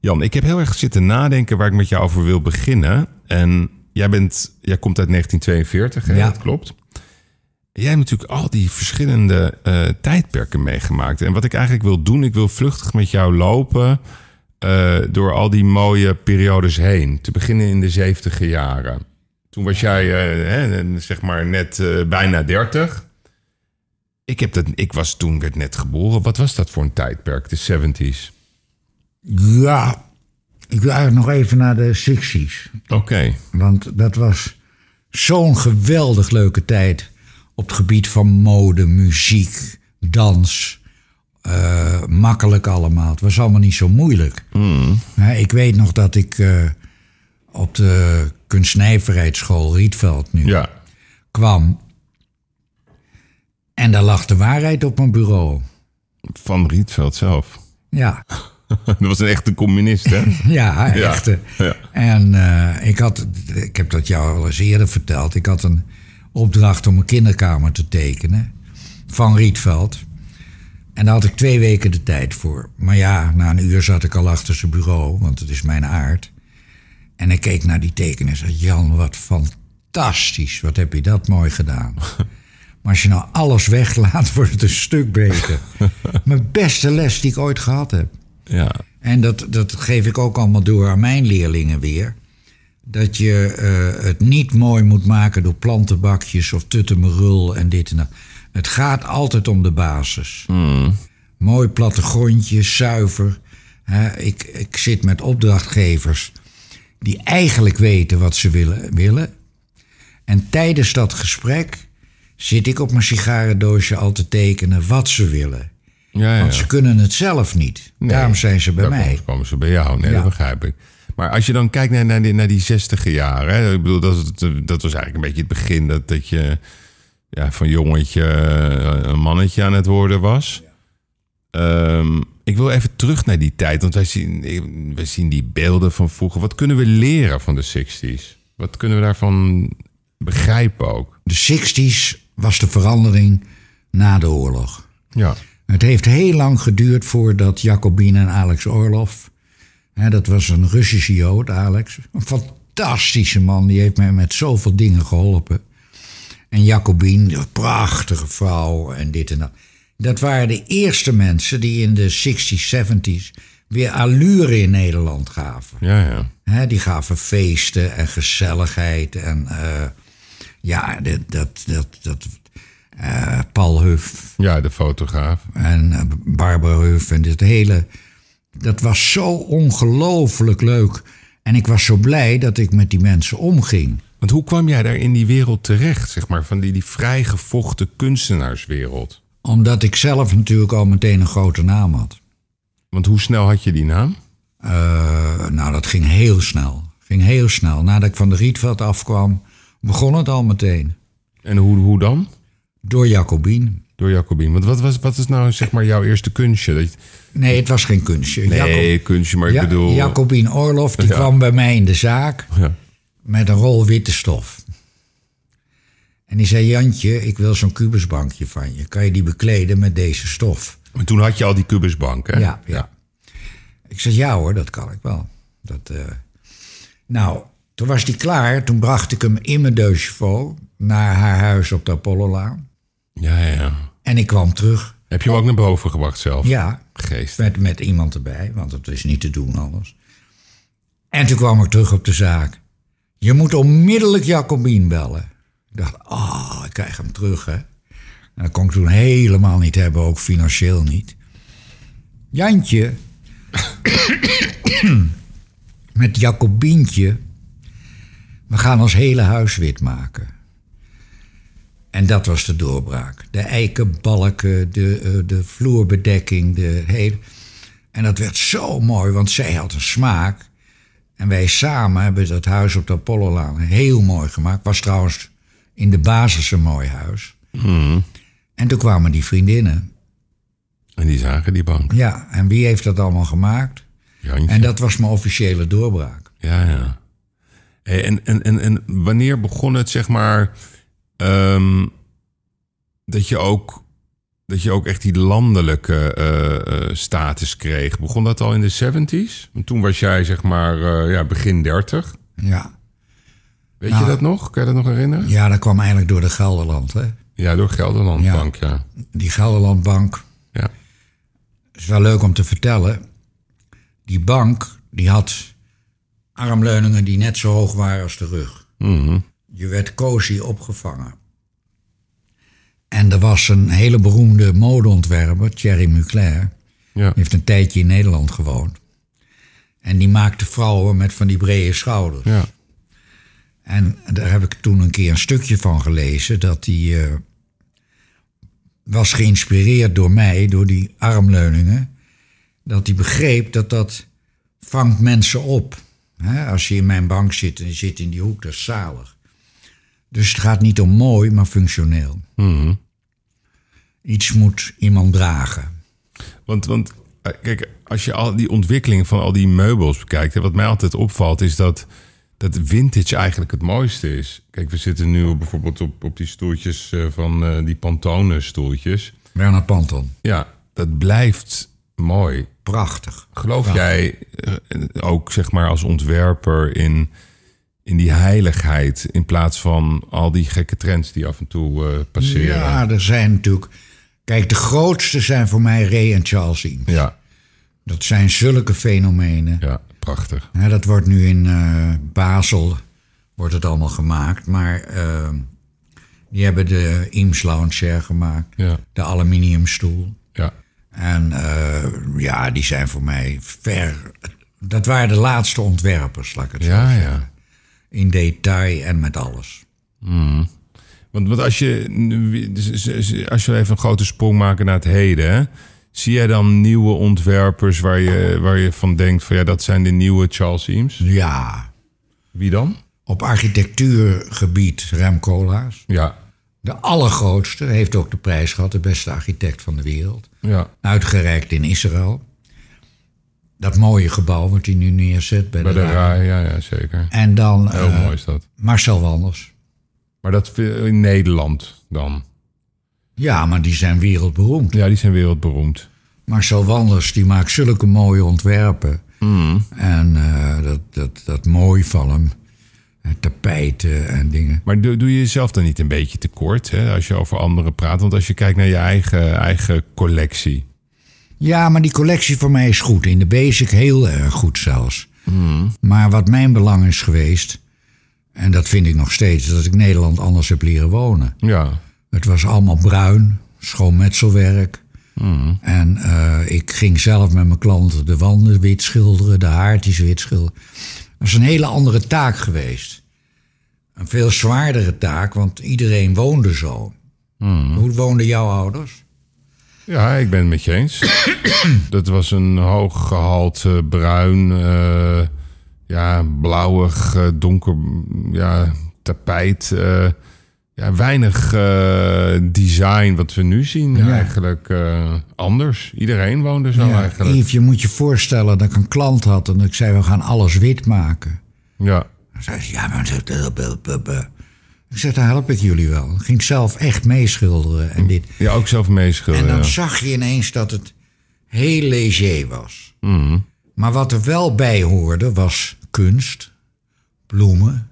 Speaker 1: Jan, ik heb heel erg zitten nadenken waar ik met jou over wil beginnen. En jij, bent, jij komt uit 1942, hè?
Speaker 2: Ja.
Speaker 1: dat klopt. Jij hebt natuurlijk al die verschillende eh, tijdperken meegemaakt. En wat ik eigenlijk wil doen, ik wil vluchtig met jou lopen eh, door al die mooie periodes heen. Te beginnen in de 70 jaren. Toen was jij eh, hè, zeg maar net eh, bijna 30. Ik, heb dat, ik was toen werd net geboren. Wat was dat voor een tijdperk, de 70s?
Speaker 2: Ja, ik wil eigenlijk nog even naar de 60s.
Speaker 1: Oké.
Speaker 2: Want dat was zo'n geweldig leuke tijd. Op het gebied van mode, muziek, dans. Eh, makkelijk allemaal. Het was allemaal niet zo moeilijk. Hè, ik weet nog dat ik eh, op de kunstnijverheidsschool Rietveld nu
Speaker 1: Ja.
Speaker 2: kwam. En daar lag de waarheid op mijn bureau.
Speaker 1: Van Rietveld zelf.
Speaker 2: Ja.
Speaker 1: dat was een echte communist, hè?
Speaker 2: Ja,
Speaker 1: Ja,
Speaker 2: echt.
Speaker 1: ja.
Speaker 2: En eh, ik had, ik heb dat jou al eens eerder verteld. Ik had een opdracht om een kinderkamer te tekenen van Rietveld. En daar had ik twee weken de tijd voor. Maar ja, na een uur zat ik al achter zijn bureau, want het is mijn aard. En ik keek naar die tekenen en zei: Jan, wat fantastisch. Wat heb je dat mooi gedaan. Maar als je nou alles weglaat, wordt het een stuk beter. Mijn beste les die ik ooit gehad heb.
Speaker 1: ja.
Speaker 2: En dat, dat geef ik ook allemaal door aan mijn leerlingen weer. Dat je eh, het niet mooi moet maken door plantenbakjes of tuttemerul en dit en dat. Het gaat altijd om de basis. Mooi plattegrondje, zuiver. Hè, ik, ik zit met opdrachtgevers die eigenlijk weten wat ze willen. willen. En tijdens dat gesprek zit ik op mijn sigarendoosje al te tekenen wat ze willen.
Speaker 1: Ja, ja.
Speaker 2: Want ze kunnen het zelf niet. Daarom zijn ze bij
Speaker 1: Daar
Speaker 2: mij.
Speaker 1: komen ze- komen ze bij jou. Nee,
Speaker 2: Ja.
Speaker 1: dat begrijp ik. Maar als je dan kijkt naar, naar, die, naar die 60 jaren. Hè, ik bedoel, dat, eh, dat was eigenlijk een beetje het begin dat, dat je ja, van jongetje eh, een mannetje aan het worden was. Ehm, ik wil even terug naar die tijd, want wij zien, wij zien die beelden van vroeger. Wat kunnen we leren van de 60s? Wat kunnen we daarvan begrijpen ook?
Speaker 2: De 60s was de verandering na de oorlog.
Speaker 1: Ja,
Speaker 2: Het heeft heel lang geduurd voordat Jacobin en Alex Orlov. Hè, dat was een Russische Jood, Alex. Een fantastische man, die heeft mij met zoveel dingen geholpen. En Jacobin, een prachtige vrouw en dit en dat. Dat waren de eerste mensen die in de 60s, 70s weer allure in Nederland gaven.
Speaker 1: ja, ja.
Speaker 2: Hè, die gaven feesten en gezelligheid. En eh, ja, dit- dat, dat, dat, eh, Paul Huff
Speaker 1: Ja, de fotograaf.
Speaker 2: en eh, Barbara Huff en dit hele. Dat was zo ongelooflijk leuk. En ik was zo blij dat ik met die mensen omging.
Speaker 1: Want hoe kwam jij daar in die wereld terecht, zeg maar, van die, die vrijgevochten kunstenaarswereld?
Speaker 2: Omdat ik zelf natuurlijk al meteen een grote naam had.
Speaker 1: Want hoe snel had je die naam?
Speaker 2: Eh, nou, dat ging heel snel. Ging heel snel. Nadat ik van de Rietveld afkwam, begon het al meteen.
Speaker 1: En hoe, hoe dan?
Speaker 2: Door Jacobin.
Speaker 1: Door Jacobin. Want wat, was, wat is nou zeg maar jouw eerste kunstje? Dat je-
Speaker 2: Nee, het was geen kunstje. Jacob-
Speaker 1: nee, kunstje, maar ik
Speaker 2: Ja,
Speaker 1: bedoel...
Speaker 2: Jacobien Orlof die
Speaker 1: Ja.
Speaker 2: kwam bij mij in de zaak
Speaker 1: Ja.
Speaker 2: met een rol witte stof. En die zei, Jantje, ik wil zo'n kubusbankje van je. Kan je die bekleden met deze stof?
Speaker 1: Maar toen had je al die kubusbank, hè?
Speaker 2: Ja, ja. Ik zei, ja hoor, dat kan ik wel. Dat, eh, Nou, toen was die klaar. Toen bracht ik hem in mijn doosje vol naar haar huis op de Apollolaan.
Speaker 1: Ja, ja, ja.
Speaker 2: En ik kwam terug.
Speaker 1: Heb je hem ook naar boven gebracht zelf?
Speaker 2: Ja,
Speaker 1: Geest.
Speaker 2: met, met iemand erbij, want het is niet te doen anders. En toen kwam ik terug op de zaak. Je moet onmiddellijk Jacobien bellen. Ik dacht, ah, ik krijg hem terug, hè. En dat kon ik toen helemaal niet hebben, ook financieel niet. Jantje, met Jacobientje, we gaan ons hele huis wit maken. En dat was de doorbraak. De eikenbalken, de, eh, de vloerbedekking, de hele... En dat werd zo mooi, want zij had een smaak. En wij samen hebben dat huis op de Apollolaan heel mooi gemaakt. Was trouwens in de basis een mooi huis. En toen kwamen die vriendinnen.
Speaker 1: En die zagen die bank.
Speaker 2: Ja, en wie heeft dat allemaal gemaakt?
Speaker 1: Jantje.
Speaker 2: En dat was mijn officiële doorbraak.
Speaker 1: Ja, ja. Hey, En, en, en, en wanneer begon het, zeg maar, ehm, dat, je ook, dat je ook echt die landelijke eh, eh, status kreeg? Begon dat al in de 70s? Want toen was jij, zeg maar, eh, ja, begin 30.
Speaker 2: Ja.
Speaker 1: Weet je dat nog? Kan je dat nog herinneren? Nou, Ja,
Speaker 2: ja, dat kwam eigenlijk door de Gelderland. Hè?
Speaker 1: door Gelderland
Speaker 2: Ja.
Speaker 1: Bank, ja.
Speaker 2: Die Gelderlandbank
Speaker 1: ja.
Speaker 2: is wel leuk om te vertellen. Die bank die had armleuningen die net zo hoog waren als de rug. Je werd cozy opgevangen. En er was een hele beroemde modeontwerper, Thierry Mugler.
Speaker 1: Ja.
Speaker 2: Die heeft een tijdje in Nederland gewoond. En die maakte vrouwen met van die brede schouders.
Speaker 1: Ja.
Speaker 2: En daar heb ik toen een keer een stukje van gelezen. Dat die eh, was geïnspireerd door mij, door die armleuningen. Dat hij begreep dat dat vangt mensen op. Hè, als je in mijn bank zit en je zit in die hoek, dat is zalig. Dus het gaat niet om mooi, maar functioneel. Iets moet iemand dragen.
Speaker 1: Want, want eh, kijk, als je al die ontwikkeling van al die meubels bekijkt, hè, wat mij altijd opvalt, is dat, dat vintage eigenlijk het mooiste is. Kijk, we zitten nu op- bijvoorbeeld op, op die stoeltjes eh, van eh, die Pantone stoeltjes.
Speaker 2: Bernard Panton,
Speaker 1: Ja, dat blijft mooi.
Speaker 2: prachtig.
Speaker 1: Geloof jij eh, ook, zeg maar, als ontwerper in, in die heiligheid in plaats van al die gekke trends die af en toe eh, passeren?
Speaker 2: Ja, er zijn natuurlijk... Kijk, de grootste zijn voor mij Ray en Charles Eames.
Speaker 1: ja,
Speaker 2: Dat zijn zulke fenomenen.
Speaker 1: ja, prachtig.
Speaker 2: Ja, dat wordt nu in eh, Basel wordt het allemaal gemaakt. Maar eh, die hebben de Eames Lounge Chair gemaakt.
Speaker 1: Ja.
Speaker 2: De aluminiumstoel.
Speaker 1: Ja,
Speaker 2: En eh, ja, die zijn voor mij ver... Dat waren de laatste ontwerpers, laat ik het zo
Speaker 1: ja,
Speaker 2: zeggen.
Speaker 1: ja.
Speaker 2: In detail en met alles.
Speaker 1: Want, want als je, nu- dus, als je even een grote sprong maken naar het heden, hè, zie jij dan nieuwe ontwerpers waar je, waar je van denkt van ja, dat zijn de nieuwe Charles Eames?
Speaker 2: Ja,
Speaker 1: Wie dan?
Speaker 2: op architectuurgebied Rem Koolhaas.
Speaker 1: Ja,
Speaker 2: De allergrootste heeft ook de prijs gehad, de beste architect van de wereld.
Speaker 1: ja.
Speaker 2: Uitgereikt in Israël. Dat mooie gebouw wat hij nu neerzet bij,
Speaker 1: Bij de Oh.
Speaker 2: de, Ra.
Speaker 1: RAI, ja, ja, zeker.
Speaker 2: En dan
Speaker 1: Heel
Speaker 2: eh,
Speaker 1: mooi is dat.
Speaker 2: Marcel Wanders.
Speaker 1: Maar dat vi- in Nederland dan.
Speaker 2: Ja, maar die zijn wereldberoemd.
Speaker 1: Ja, die zijn wereldberoemd.
Speaker 2: Marcel Wanders die maakt zulke mooie ontwerpen.
Speaker 1: Hmm.
Speaker 2: En eh, dat, dat, dat mooi van hem. En tapijten en dingen.
Speaker 1: Maar doe, doe je jezelf dan niet een beetje tekort hè, als je over anderen praat? Want als je kijkt naar je eigen, eigen collectie.
Speaker 2: Ja, maar die collectie voor mij is goed. In de basic heel erg goed zelfs.
Speaker 1: Hmm.
Speaker 2: Maar wat mijn belang is geweest, en dat vind ik nog steeds, dat ik Nederland anders heb leren wonen.
Speaker 1: Ja,
Speaker 2: Het was allemaal bruin, schoon metselwerk. En eh, ik ging zelf met mijn klanten de wanden wit schilderen, de haartjes wit schilderen. Dat is een hele andere taak geweest. Een veel zwaardere taak, want iedereen woonde zo. Hoe woonden jouw ouders?
Speaker 1: Ja, ik ben het met je eens. dat was een hoog gehalte bruin, eh, ja, blauwig, eh, donker ja, tapijt. eh, ja, weinig eh, design wat we nu zien eigenlijk eh, anders. Iedereen woonde zo
Speaker 2: Ja,
Speaker 1: eigenlijk.
Speaker 2: Yves, je moet je voorstellen dat ik een klant had en dat ik zei: we gaan alles wit maken.
Speaker 1: Ja,
Speaker 2: Dan zei ze: ja, maar. dat- dat- dat- dat- dat." Ik zeg, daar help ik jullie wel. Dan ging ik zelf echt meeschilderen en dit.
Speaker 1: Ja, ook zelf
Speaker 2: En
Speaker 1: meeschilderen.
Speaker 2: dan
Speaker 1: ja.
Speaker 2: zag je ineens dat het heel léger was.
Speaker 1: Mhm.
Speaker 2: Maar wat er wel bij hoorde was kunst, bloemen,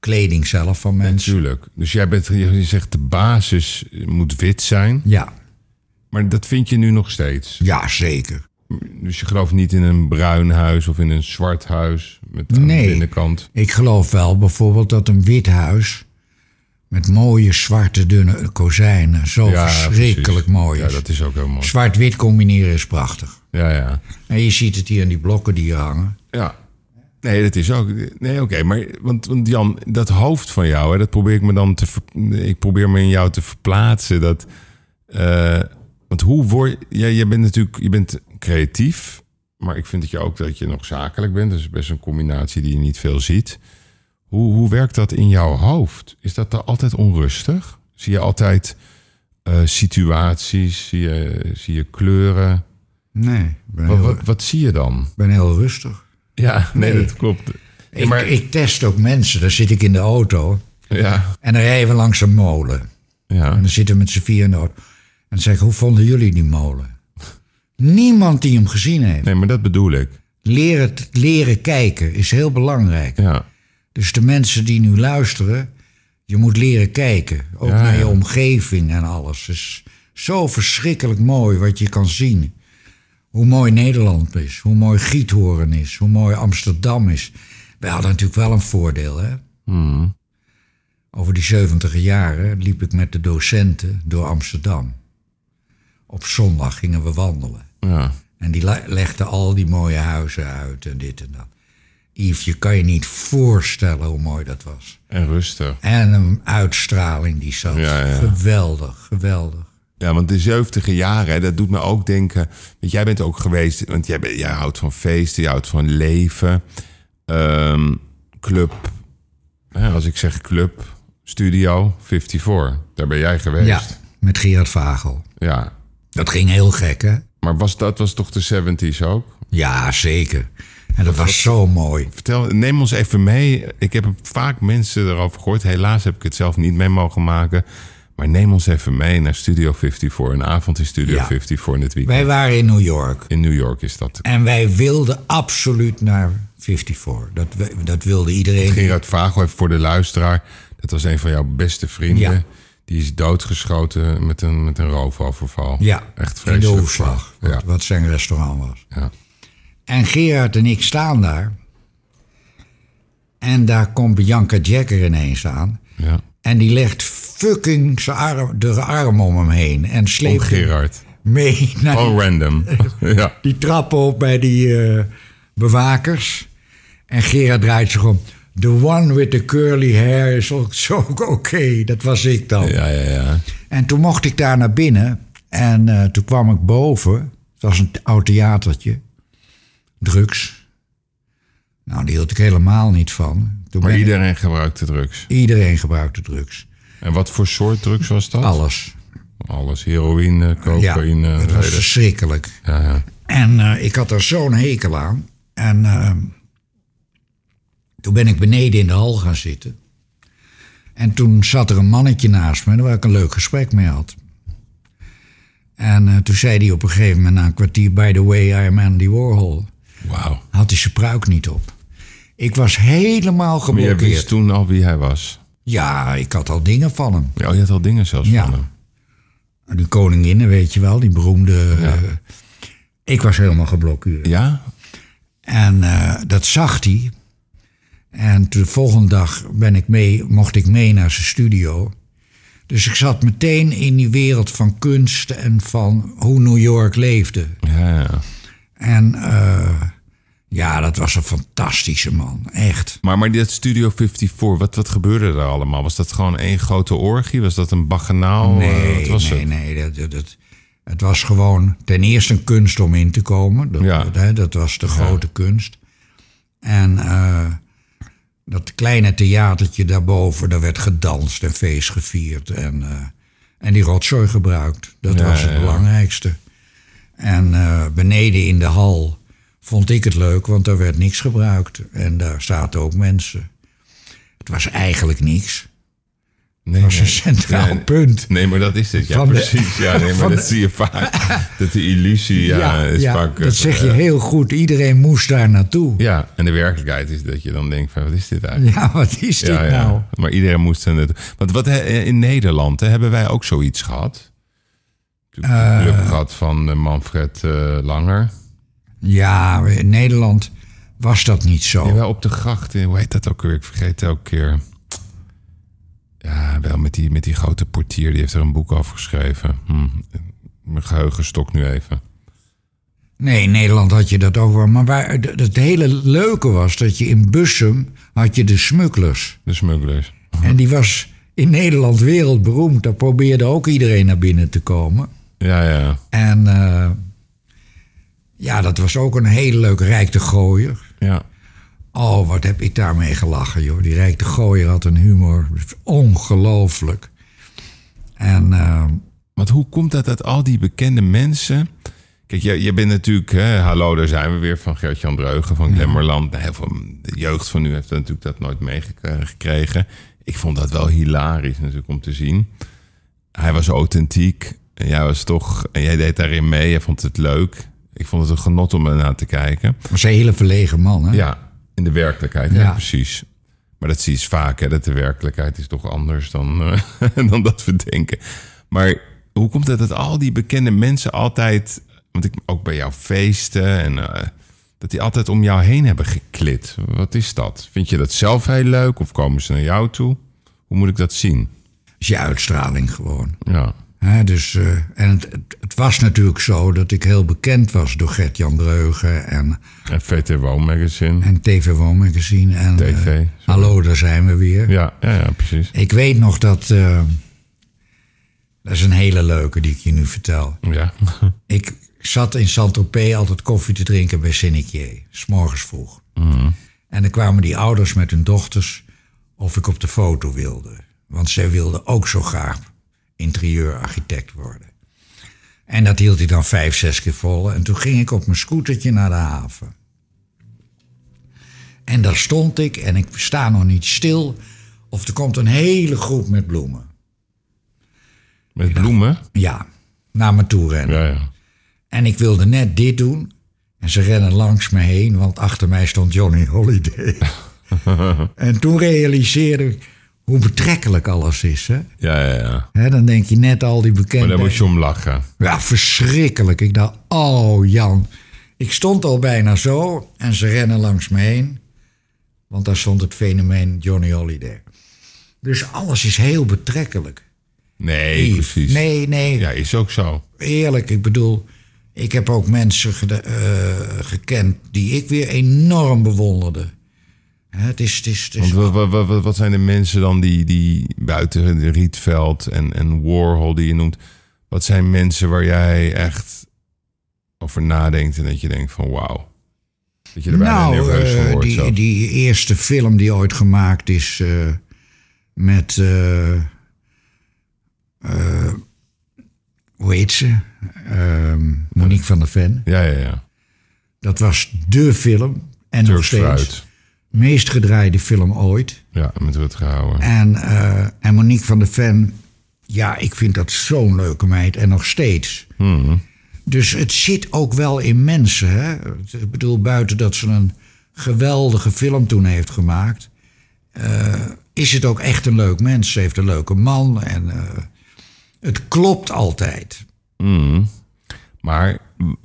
Speaker 2: kleding zelf van mensen.
Speaker 1: Natuurlijk. Dus jij bent, je zegt de basis moet wit zijn.
Speaker 2: Ja,
Speaker 1: Maar dat vind je nu nog steeds.
Speaker 2: ja zeker.
Speaker 1: Dus je gelooft niet in een bruin huis of in een zwart huis met aan
Speaker 2: Nee.
Speaker 1: de binnenkant.
Speaker 2: Ik geloof wel bijvoorbeeld dat een wit huis met mooie zwarte dunne kozijnen zo verschrikkelijk
Speaker 1: precies.
Speaker 2: mooi
Speaker 1: Ja,
Speaker 2: is.
Speaker 1: dat is ook heel mooi.
Speaker 2: Zwart-wit combineren is prachtig.
Speaker 1: Ja, ja.
Speaker 2: En je ziet het hier in die blokken die hier hangen.
Speaker 1: Ja. Nee, dat is ook. Nee, oké. maar want, want Jan, dat hoofd van jou, hè, dat probeer ik me dan te. ver- ik probeer me in jou te verplaatsen. Dat. eh, want hoe word jij? Jij bent natuurlijk. Je bent creatief. Maar ik vind dat je ook dat je nog zakelijk bent. Dat is best een combinatie die je niet veel ziet. Hoe, hoe werkt dat in jouw hoofd? Is dat daar altijd onrustig? Zie je altijd eh, situaties? Zie je, zie je kleuren?
Speaker 2: Nee, ik ben,
Speaker 1: Wat,
Speaker 2: heel,
Speaker 1: wat, wat zie je dan?
Speaker 2: ik ben heel rustig.
Speaker 1: Ja, nee,
Speaker 2: Nee.
Speaker 1: dat klopt. Ja,
Speaker 2: Ik, ik test ook mensen. Daar zit ik in de auto.
Speaker 1: Ja,
Speaker 2: En dan rijden we langs een molen.
Speaker 1: ja.
Speaker 2: En dan zitten we met z'n vier in de auto. En dan zeg ik, hoe vonden jullie die molen? Niemand die hem gezien heeft.
Speaker 1: Nee, maar dat bedoel ik.
Speaker 2: Leren, leren kijken is heel belangrijk.
Speaker 1: Ja,
Speaker 2: Dus de mensen die nu luisteren, je moet leren kijken. Ook
Speaker 1: Ja,
Speaker 2: naar je
Speaker 1: ja.
Speaker 2: omgeving en alles. Het is zo verschrikkelijk mooi wat je kan zien. Hoe mooi Nederland is, hoe mooi Giethoorn is, hoe mooi Amsterdam is. We hadden natuurlijk wel een voordeel, hè?
Speaker 1: Hmm.
Speaker 2: Over die 70 jaren liep ik met de docenten door Amsterdam. Op zondag gingen we wandelen.
Speaker 1: ja.
Speaker 2: En die le- legde al die mooie huizen uit en dit en dat. Yves, je kan je niet voorstellen hoe mooi dat was.
Speaker 1: En rustig.
Speaker 2: En een uitstraling die zat.
Speaker 1: Ja, ja.
Speaker 2: Geweldig, geweldig.
Speaker 1: Ja, want de 70 jaren, hè, dat doet me ook denken. Want jij bent ook geweest, want jij, bent- jij houdt van feesten, jij houdt van leven. Ehm, club. Ja, als ik zeg club, studio 54. Daar ben jij geweest.
Speaker 2: Ja, met Gerard Vagel.
Speaker 1: Ja.
Speaker 2: Dat ging heel gek, hè?
Speaker 1: Maar was, dat was toch de 70s ook?
Speaker 2: Ja, zeker. En dat was zo mooi.
Speaker 1: Vertel, neem ons even mee. Ik heb vaak mensen erover gehoord. Helaas heb ik het zelf niet mee mogen maken. Maar neem ons even mee naar Studio 54. Een avond in Studio
Speaker 2: Ja.
Speaker 1: 54 in het weekend.
Speaker 2: Wij waren in New York.
Speaker 1: In New York is dat.
Speaker 2: En wij wilden absoluut naar 54. Dat, we- dat wilde iedereen.
Speaker 1: Gerard Vagel, even voor de luisteraar. Dat was een van jouw beste vrienden.
Speaker 2: Ja.
Speaker 1: Die is doodgeschoten met een, met een roofoverval.
Speaker 2: Ja,
Speaker 1: Echt
Speaker 2: in de
Speaker 1: vreselijk.
Speaker 2: hoefslag.
Speaker 1: Ja.
Speaker 2: Wat, wat zijn restaurant was.
Speaker 1: Ja.
Speaker 2: En Gerard en ik staan daar. En daar komt Bianca Jacker ineens aan.
Speaker 1: ja.
Speaker 2: En die legt fucking zijn arm, de arm om hem heen. En
Speaker 1: Oh,
Speaker 2: sleept hem
Speaker 1: Gerard.
Speaker 2: mee naar
Speaker 1: Oh, random. ja.
Speaker 2: die trappen op bij die eh, bewakers. En Gerard draait zich om. The one with the curly hair is also oké. Dat was ik dan.
Speaker 1: Ja, ja, ja.
Speaker 2: En toen mocht ik daar naar binnen. En eh, toen kwam ik boven. Het was een oud theatertje. Drugs. Nou, die hield ik helemaal niet van. Toen
Speaker 1: Maar
Speaker 2: ben ik-
Speaker 1: iedereen gebruikte drugs.
Speaker 2: iedereen gebruikte drugs.
Speaker 1: En wat voor soort drugs was dat?
Speaker 2: Alles.
Speaker 1: Alles. Heroïne,
Speaker 2: Ja,
Speaker 1: cocaïne.
Speaker 2: het was
Speaker 1: reden.
Speaker 2: verschrikkelijk.
Speaker 1: ja, ja.
Speaker 2: En eh, ik had er zo'n hekel aan. En eh, toen ben ik beneden in de hal gaan zitten. En toen zat er een mannetje naast me waar ik een leuk gesprek mee had. En eh, toen zei hij op een gegeven moment na een kwartier... By the way, I am Andy Warhol.
Speaker 1: Wauw.
Speaker 2: Had hij zijn pruik niet op. Ik was helemaal
Speaker 1: Maar jij wist
Speaker 2: geblokkeerd.
Speaker 1: toen al wie hij was.
Speaker 2: Ja, ik had al dingen van hem.
Speaker 1: Ja, oh, je had al dingen zelfs
Speaker 2: Ja.
Speaker 1: van hem.
Speaker 2: Die koninginnen, weet je wel, die beroemde... eh, ik was helemaal geblokkeerd.
Speaker 1: Ja?
Speaker 2: En eh, dat zag hij. En de volgende dag ben ik mee, mocht ik mee naar zijn studio. Dus ik zat meteen in die wereld van kunst en van hoe New York leefde.
Speaker 1: Ja, ja.
Speaker 2: En eh, ja, dat was een fantastische man, echt.
Speaker 1: Maar, maar dat Studio 54, wat, wat gebeurde er allemaal? Was dat gewoon één grote orgie? Was dat een baganaal? Eh, wat
Speaker 2: Nee,
Speaker 1: was
Speaker 2: nee,
Speaker 1: het?
Speaker 2: nee. Dat, dat, dat- het was gewoon ten eerste een kunst om in te komen. Dat,
Speaker 1: Ja.
Speaker 2: dat, hè, dat was de grote kunst. En eh, dat kleine theatertje daarboven, daar werd gedanst en feest gevierd. En, eh, en die rotzooi gebruikt. Dat
Speaker 1: Ja,
Speaker 2: was het
Speaker 1: ja, ja.
Speaker 2: belangrijkste. En eh, beneden in de hal vond ik het leuk, want daar werd niks gebruikt. En daar zaten ook mensen. Het was eigenlijk niks.
Speaker 1: Nee,
Speaker 2: was een
Speaker 1: nee.
Speaker 2: centraal
Speaker 1: Nee,
Speaker 2: punt.
Speaker 1: Nee, maar dat is het. Ja,
Speaker 2: Van de-
Speaker 1: precies. ja, nee, maar
Speaker 2: van
Speaker 1: dat
Speaker 2: de-
Speaker 1: zie je vaak. Dat de illusie ja, is vaak...
Speaker 2: dat zeg je
Speaker 1: eh,
Speaker 2: heel goed. Iedereen moest daar naartoe. Ja,
Speaker 1: Ja, en de werkelijkheid is dat je dan denkt van, wat is dit eigenlijk?
Speaker 2: wat is dit
Speaker 1: Ja, ja.
Speaker 2: nou?
Speaker 1: Maar iedereen moest... dan het- Want wat he- in Nederland hè, hebben wij ook zoiets gehad. Toen de club gehad van eh, Manfred eh, Langer.
Speaker 2: Ja, in Nederland was dat niet zo.
Speaker 1: Ja, wel op de gracht. eh, Hoe heet dat ook weer? Ik vergeet elke keer. Ja, wel met die, met die grote portier. Die heeft er een boek over geschreven. Hm. Mijn geheugen stokt nu even.
Speaker 2: Nee, in Nederland had je dat ook wel. Maar waar, het- het hele leuke was dat je in Bussum had je de smugglers.
Speaker 1: De smugglers.
Speaker 2: En die was in Nederland wereldberoemd. Daar probeerde ook iedereen naar binnen te komen.
Speaker 1: Ja, ja.
Speaker 2: En eh, ja, dat was ook een heel leuk Rijk de Gooier.
Speaker 1: Ja.
Speaker 2: Oh, wat heb ik daarmee gelachen, joh. Die Rijk de Gooier had een humor. Ongelooflijk. En eh,
Speaker 1: Want hoe komt dat dat al die bekende mensen... Kijk, je, je bent natuurlijk... Hè, hallo, daar zijn we weer van Gert-Jan Dreugen, van Glemmerland. Nou, heel veel- de jeugd van nu heeft dat natuurlijk dat nooit meegekregen. Ik vond dat wel hilarisch natuurlijk om te zien. Hij was authentiek. En jij was toch... En jij deed daarin mee. Jij vond het leuk. Ik vond het een genot om ernaar te kijken.
Speaker 2: was een hele verlegen man, hè?
Speaker 1: Ja, in de werkelijkheid. Ja,
Speaker 2: Ja.
Speaker 1: precies. Maar dat zie je vaak, hè, dat de werkelijkheid is toch anders dan, eh, dan dat we denken. Maar hoe komt het dat al die bekende mensen altijd... Want ik, ook bij jouw feesten en... eh, dat die altijd om jou heen hebben geklit. Wat is dat? Vind je dat zelf heel leuk of komen ze naar jou toe? Hoe moet ik dat zien?
Speaker 2: Is je uitstraling gewoon.
Speaker 1: Ja,
Speaker 2: Hè, dus, eh, en het, het, het was natuurlijk zo dat ik heel bekend was door Gert-Jan Dreugen en,
Speaker 1: en VTWO Magazine.
Speaker 2: en TV Woonmagazine. En,
Speaker 1: TV,
Speaker 2: eh,
Speaker 1: sorry.
Speaker 2: Hallo, daar zijn we weer.
Speaker 1: Ja, ja, ja precies.
Speaker 2: Ik weet nog dat... eh, dat is een hele leuke die ik je nu vertel.
Speaker 1: Ja.
Speaker 2: Ik zat in Saint-Tropez altijd koffie te drinken bij Sinnikier. S'morgens vroeg. En dan kwamen die ouders met hun dochters of ik op de foto wilde. Want zij wilden ook zo graag interieurarchitect worden. En dat hield hij dan vijf, zes keer vol. En toen ging ik op mijn scootertje naar de haven. En daar stond ik en ik sta nog niet stil. Of er komt een hele groep met bloemen.
Speaker 1: Met bloemen.
Speaker 2: Ja, naar me toe rennen.
Speaker 1: Ja, ja.
Speaker 2: En ik wilde net dit doen. En ze rennen langs me heen, want achter mij stond Johnny Holiday. en toen realiseerde ik hoe betrekkelijk alles is. Hè?
Speaker 1: Ja, ja, ja.
Speaker 2: Hè, dan denk je net al die
Speaker 1: Maar
Speaker 2: bekende.
Speaker 1: daar moet je om lachen.
Speaker 2: Ja, verschrikkelijk. Ik dacht, oh Jan. Ik stond al bijna zo en ze rennen langs me heen. Want daar stond het fenomeen Johnny Holiday. Dus alles is heel betrekkelijk.
Speaker 1: Nee, precies.
Speaker 2: Nee, nee,
Speaker 1: Ja, is ook zo.
Speaker 2: eerlijk, ik bedoel, ik heb ook mensen gede- eh, gekend die ik weer enorm bewonderde. Hè, Het is, het is, het is-
Speaker 1: Want wat, wat, wat, wat zijn de mensen dan die, die buiten de Rietveld en, en Warhol die je noemt... Wat zijn mensen waar jij echt over nadenkt en dat je denkt van wauw. Dat je er bijna
Speaker 2: nou,
Speaker 1: nerveus van
Speaker 2: eh,
Speaker 1: wordt
Speaker 2: die,
Speaker 1: zelfs.
Speaker 2: die eerste film die ooit gemaakt is eh, met, eh, eh, hoe heet ze? Ehm, Monique van der Ven.
Speaker 1: Ja, ja, ja.
Speaker 2: Dat was dé film en nog
Speaker 1: Turks
Speaker 2: steeds
Speaker 1: fruit.
Speaker 2: meest gedraaide film ooit.
Speaker 1: Ja, met Rutger Hauer.
Speaker 2: En, eh, en Monique van der Ven, ja, ik vind dat zo'n leuke meid en nog steeds.
Speaker 1: Hmm.
Speaker 2: Dus het zit ook wel in mensen. Hè? Ik bedoel, buiten dat ze een geweldige film toen heeft gemaakt, eh, is het ook echt een leuk mens. Ze heeft een leuke man en eh, het klopt altijd.
Speaker 1: Maar mm,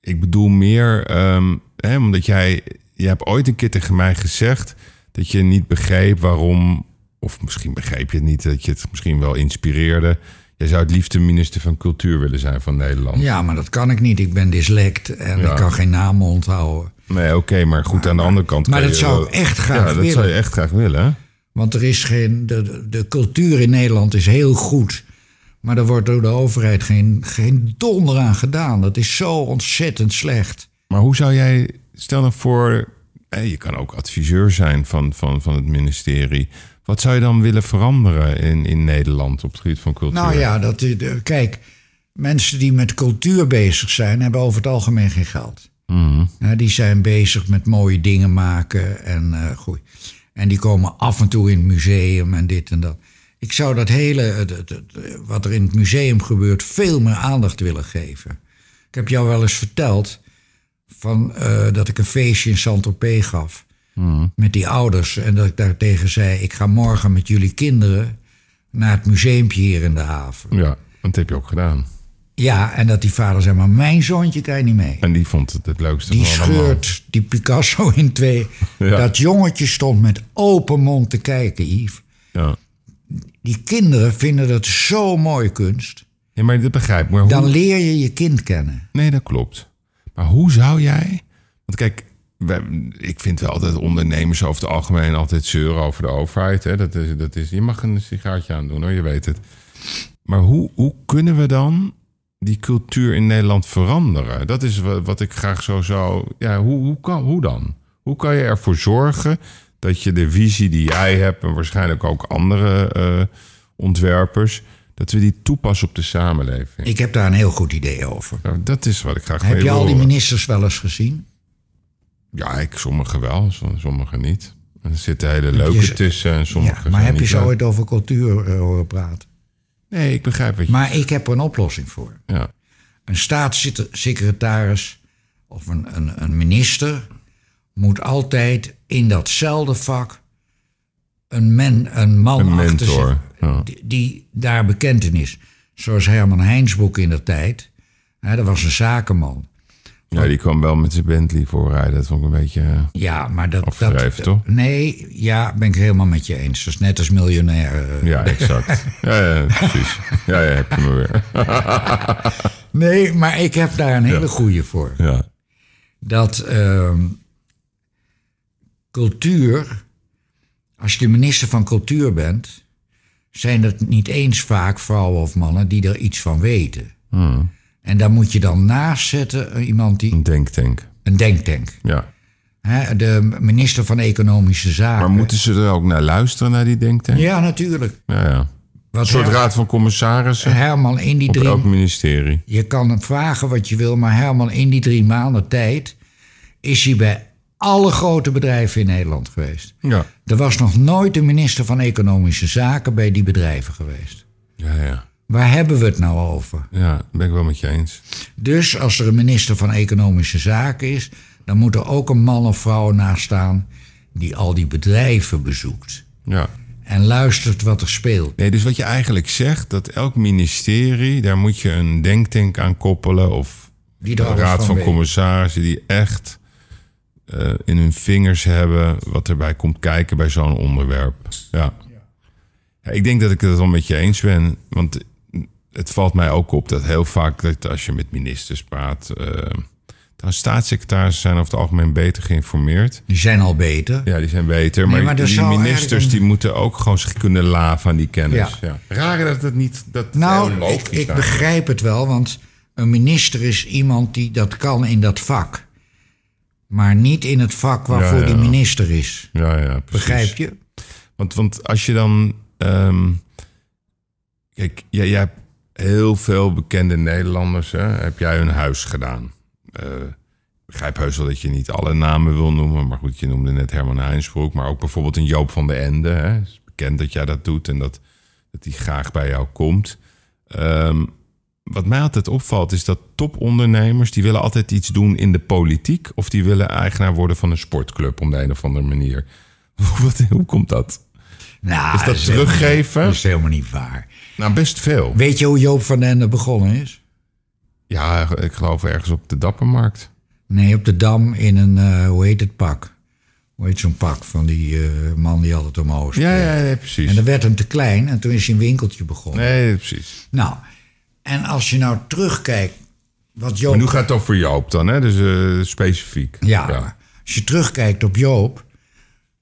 Speaker 1: ik bedoel meer, ehm, hè, omdat jij, jij hebt ooit een keer tegen mij gezegd dat je niet begreep waarom, of misschien begreep je het niet, dat je het misschien wel inspireerde. Jij zou het liefst de minister van Cultuur willen zijn van Nederland.
Speaker 2: Ja, maar dat kan ik niet. Ik ben dyslect en
Speaker 1: Ja.
Speaker 2: ik kan geen namen onthouden.
Speaker 1: Nee, oké, maar goed, aan de andere kant.
Speaker 2: maar
Speaker 1: kan
Speaker 2: dat
Speaker 1: je
Speaker 2: zou
Speaker 1: wel-
Speaker 2: ik echt graag
Speaker 1: Ja, dat
Speaker 2: willen.
Speaker 1: zou je echt graag willen. hè?
Speaker 2: Want er is geen. De, de- de cultuur in Nederland is heel goed. Maar er wordt door de overheid geen, geen donder aan gedaan. Dat is zo ontzettend slecht.
Speaker 1: Maar hoe zou jij, stel nou voor, hé, je kan ook adviseur zijn van, van, van het ministerie. Wat zou je dan willen veranderen in, in Nederland op het gebied van cultuur?
Speaker 2: Nou ja, dat, is- de- kijk, mensen die met cultuur bezig zijn, hebben over het algemeen geen geld. Ja, die zijn bezig met mooie dingen maken en eh, goeie. En die komen af en toe in het museum en dit en dat. Ik zou dat hele, het- het- het- wat er in het museum gebeurt, veel meer aandacht willen geven. Ik heb jou wel eens verteld van, eh, dat ik een feestje in Saint-Tropez gaf.
Speaker 1: Mhm.
Speaker 2: Met die ouders. En dat ik daartegen zei, ik ga morgen met jullie kinderen naar het museumpje hier in de haven.
Speaker 1: Ja, dat heb je ook gedaan.
Speaker 2: Ja, en dat die vader zei, maar mijn zoontje kan je niet mee.
Speaker 1: En die vond het het leukste
Speaker 2: Die
Speaker 1: van allemaal.
Speaker 2: scheurt die Picasso in twee.
Speaker 1: Ja.
Speaker 2: Dat jongetje stond met open mond te kijken, Yves.
Speaker 1: Ja.
Speaker 2: Die kinderen vinden dat zo mooi kunst.
Speaker 1: ja, maar dat begrijp ik. Maar hoe...
Speaker 2: Dan leer je je kind kennen.
Speaker 1: Nee, dat klopt. Maar hoe zou jij... Want kijk, wij- ik vind wel dat ondernemers over het algemeen altijd zeuren over de overheid. Hè? Dat is, dat is, je mag een sigaartje aandoen hoor, je weet het. Maar hoe, hoe kunnen we dan die cultuur in Nederland veranderen? Dat is wa- wat ik graag zo zou... Ja, hoe, hoe, kan, hoe dan? Hoe kan je ervoor zorgen dat je de visie die jij hebt... en waarschijnlijk ook andere eh, ontwerpers... dat we die toepassen op de samenleving?
Speaker 2: Ik heb daar een heel goed idee over.
Speaker 1: Nou, dat is wat ik graag van
Speaker 2: Heb je
Speaker 1: wil
Speaker 2: al die
Speaker 1: horen.
Speaker 2: ministers wel eens gezien?
Speaker 1: Ja, ik, sommige wel, som- sommige niet. En Er zitten hele leuke
Speaker 2: ze-
Speaker 1: tussen en sommige
Speaker 2: Ja, maar
Speaker 1: zijn
Speaker 2: heb je
Speaker 1: niet
Speaker 2: zo
Speaker 1: leuk.
Speaker 2: ooit over cultuur eh, horen praten?
Speaker 1: Nee, ik begrijp wat je...
Speaker 2: Maar ik heb er een oplossing voor.
Speaker 1: Ja.
Speaker 2: Een staatssecretaris of een, een, een minister moet altijd in datzelfde vak een, men, een man
Speaker 1: Een
Speaker 2: achter zich-
Speaker 1: mentor, ja.
Speaker 2: die, die daar bekend in is. Zoals Herman Heinsboek in de tijd. Hè, dat was een zakenman.
Speaker 1: ja, die kwam wel met zijn Bentley voorrijden. Dat vond ik een beetje... eh,
Speaker 2: Ja, maar dat...
Speaker 1: Afgedreven,
Speaker 2: dat,
Speaker 1: toch?
Speaker 2: Nee, ja, ben ik helemaal met je eens. Dat is net als miljonair. eh.
Speaker 1: Ja, exact. ja, ja, precies. Ja, ja, heb je me weer.
Speaker 2: Nee, maar ik heb daar een hele goede voor.
Speaker 1: Ja,
Speaker 2: dat ehm, cultuur, als je de minister van cultuur bent, zijn het niet eens vaak vrouwen of mannen die er iets van weten.
Speaker 1: Hmm.
Speaker 2: En daar moet je dan naast zetten eh, iemand die
Speaker 1: een denktank.
Speaker 2: een denktank.
Speaker 1: Ja.
Speaker 2: Hè, de minister van Economische Zaken.
Speaker 1: Maar moeten ze er ook naar luisteren, naar die denktank?
Speaker 2: Ja, natuurlijk.
Speaker 1: Ja, ja.
Speaker 2: Wat
Speaker 1: Een soort
Speaker 2: Her-
Speaker 1: raad van commissarissen
Speaker 2: Herman in die
Speaker 1: op
Speaker 2: drie
Speaker 1: elk ministerie.
Speaker 2: Je kan hem vragen wat je wil, maar Herman, in die drie maanden tijd is hij bij alle grote bedrijven in Nederland geweest.
Speaker 1: Ja.
Speaker 2: Er was nog nooit een minister van Economische Zaken bij die bedrijven geweest.
Speaker 1: Ja, ja.
Speaker 2: Waar hebben we het nou over?
Speaker 1: Ja, dat ben ik wel met je eens.
Speaker 2: Dus als er een minister van Economische Zaken is, dan moet er ook een man of vrouw naast staan die al die bedrijven bezoekt
Speaker 1: Ja.
Speaker 2: en luistert wat er speelt.
Speaker 1: Nee, dus wat je eigenlijk zegt, dat elk ministerie, daar moet je een denktank aan koppelen. Of
Speaker 2: Die
Speaker 1: de
Speaker 2: er alles
Speaker 1: raad van
Speaker 2: weet.
Speaker 1: commissarissen die echt eh, in hun vingers hebben wat erbij komt kijken bij zo'n onderwerp. Ja. Ja, Ik denk dat ik het wel met je eens ben. Want het valt mij ook op dat heel vaak dat als je met ministers praat. eh dan staatssecretarissen zijn over het algemeen beter geïnformeerd.
Speaker 2: Die zijn al beter.
Speaker 1: Ja, die zijn beter. Maar,
Speaker 2: maar er
Speaker 1: die
Speaker 2: zou
Speaker 1: ministers
Speaker 2: eigenlijk een-
Speaker 1: die moeten ook gewoon zich kunnen laven aan die kennis. Ja.
Speaker 2: Ja.
Speaker 1: Raar dat het niet... Dat heel
Speaker 2: Nou,
Speaker 1: logisch
Speaker 2: ik, ik
Speaker 1: lijkt.
Speaker 2: begrijp het wel, want een minister is iemand die dat kan in dat vak. Maar niet in het vak waarvoor
Speaker 1: Ja, ja.
Speaker 2: die minister is.
Speaker 1: Ja, ja, precies.
Speaker 2: Begrijp je?
Speaker 1: Want, want als je dan... ehm, kijk, jij, jij hebt heel veel bekende Nederlanders. Hè, heb jij hun huis gedaan. Eh, ik begrijp heus wel dat je niet alle namen wil noemen. Maar goed, je noemde net Herman Heinsbroek. Maar ook bijvoorbeeld een Joop van de Ende. Hè. Het is bekend dat jij dat doet en dat, dat die graag bij jou komt. Ehm, wat mij altijd opvalt is dat topondernemers... die willen altijd iets doen in de politiek... of die willen eigenaar worden van een sportclub... om de een of andere manier. Wat, hoe komt dat?
Speaker 2: Nou,
Speaker 1: Is Dus Ah, dat
Speaker 2: helemaal niet-
Speaker 1: teruggeven?
Speaker 2: Dat is helemaal niet waar.
Speaker 1: Nou, best veel.
Speaker 2: Weet je hoe Joop van den Ende begonnen is?
Speaker 1: Ja, ik geloof ergens op de Dappermarkt.
Speaker 2: Nee, op de Dam in een, eh, hoe heet het pak? Hoe heet zo'n pak van die eh, man die altijd omhoog
Speaker 1: Ja,
Speaker 2: speelt?
Speaker 1: ja, ja,
Speaker 2: En
Speaker 1: precies.
Speaker 2: dan werd hem te klein en toen is hij een winkeltje begonnen.
Speaker 1: Nee, precies.
Speaker 2: Nou, en als je nou terugkijkt wat Joop
Speaker 1: Maar nu gaat het over Joop dan, hè? Dus eh, specifiek.
Speaker 2: Ja, als je terugkijkt op Joop,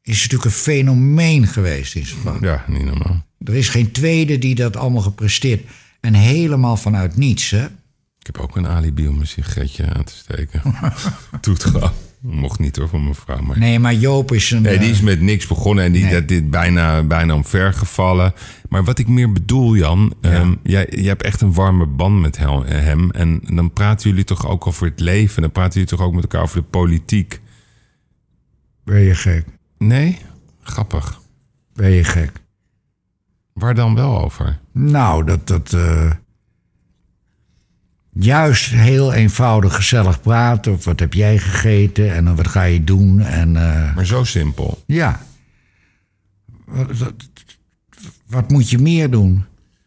Speaker 2: is het natuurlijk een fenomeen geweest in zijn vak.
Speaker 1: Ja, niet normaal.
Speaker 2: Er is geen tweede die dat allemaal gepresteerd. En helemaal vanuit niets, hè?
Speaker 1: Ik heb ook een alibi om een sigaretje aan te steken. Doet gewoon. Mocht niet hoor, van mijn vrouw. Maar...
Speaker 2: Nee, maar Joop is een...
Speaker 1: Nee, die
Speaker 2: eh,
Speaker 1: is met niks begonnen en die dat dit bijna, bijna omvergevallen. Maar wat ik meer bedoel, Jan, ehm, jij, jij hebt echt een warme band met hel- hem. En dan praten jullie toch ook over het leven. Dan praten jullie toch ook met elkaar over de politiek.
Speaker 2: Ben je gek?
Speaker 1: Nee? Grappig.
Speaker 2: Ben je gek?
Speaker 1: Waar dan wel over?
Speaker 2: Nou, dat dat. eh, juist heel eenvoudig gezellig praten. Of wat heb jij gegeten en dan wat ga je doen? En eh,
Speaker 1: Maar zo simpel.
Speaker 2: ja. Wat, wat- wat moet je meer doen?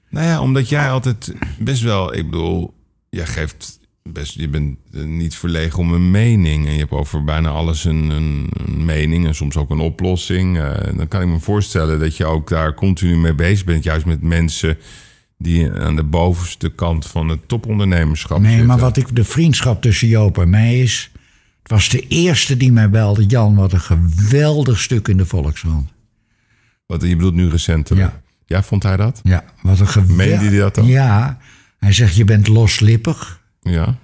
Speaker 1: Nou ja, omdat jij altijd best wel, ik bedoel, jij geeft best, je bent eh, niet verlegen om een mening. En je hebt over bijna alles een, een, een mening en soms ook een oplossing. Eh, dan kan ik me voorstellen dat je ook daar continu mee bezig bent. Juist met mensen die aan de bovenste kant van het topondernemerschap
Speaker 2: Nee,
Speaker 1: zitten.
Speaker 2: maar wat ik, de vriendschap tussen Joop en mij is. Het was de eerste die mij belde. Jan, wat een geweldig stuk in de Volkskrant.
Speaker 1: Wat, je bedoelt nu recentelijk. Ja.
Speaker 2: Ja.
Speaker 1: vond hij dat?
Speaker 2: Ja, wat een geweldig.
Speaker 1: Meende hij dat ook?
Speaker 2: Ja. Hij zegt, je bent loslippig,
Speaker 1: Ja.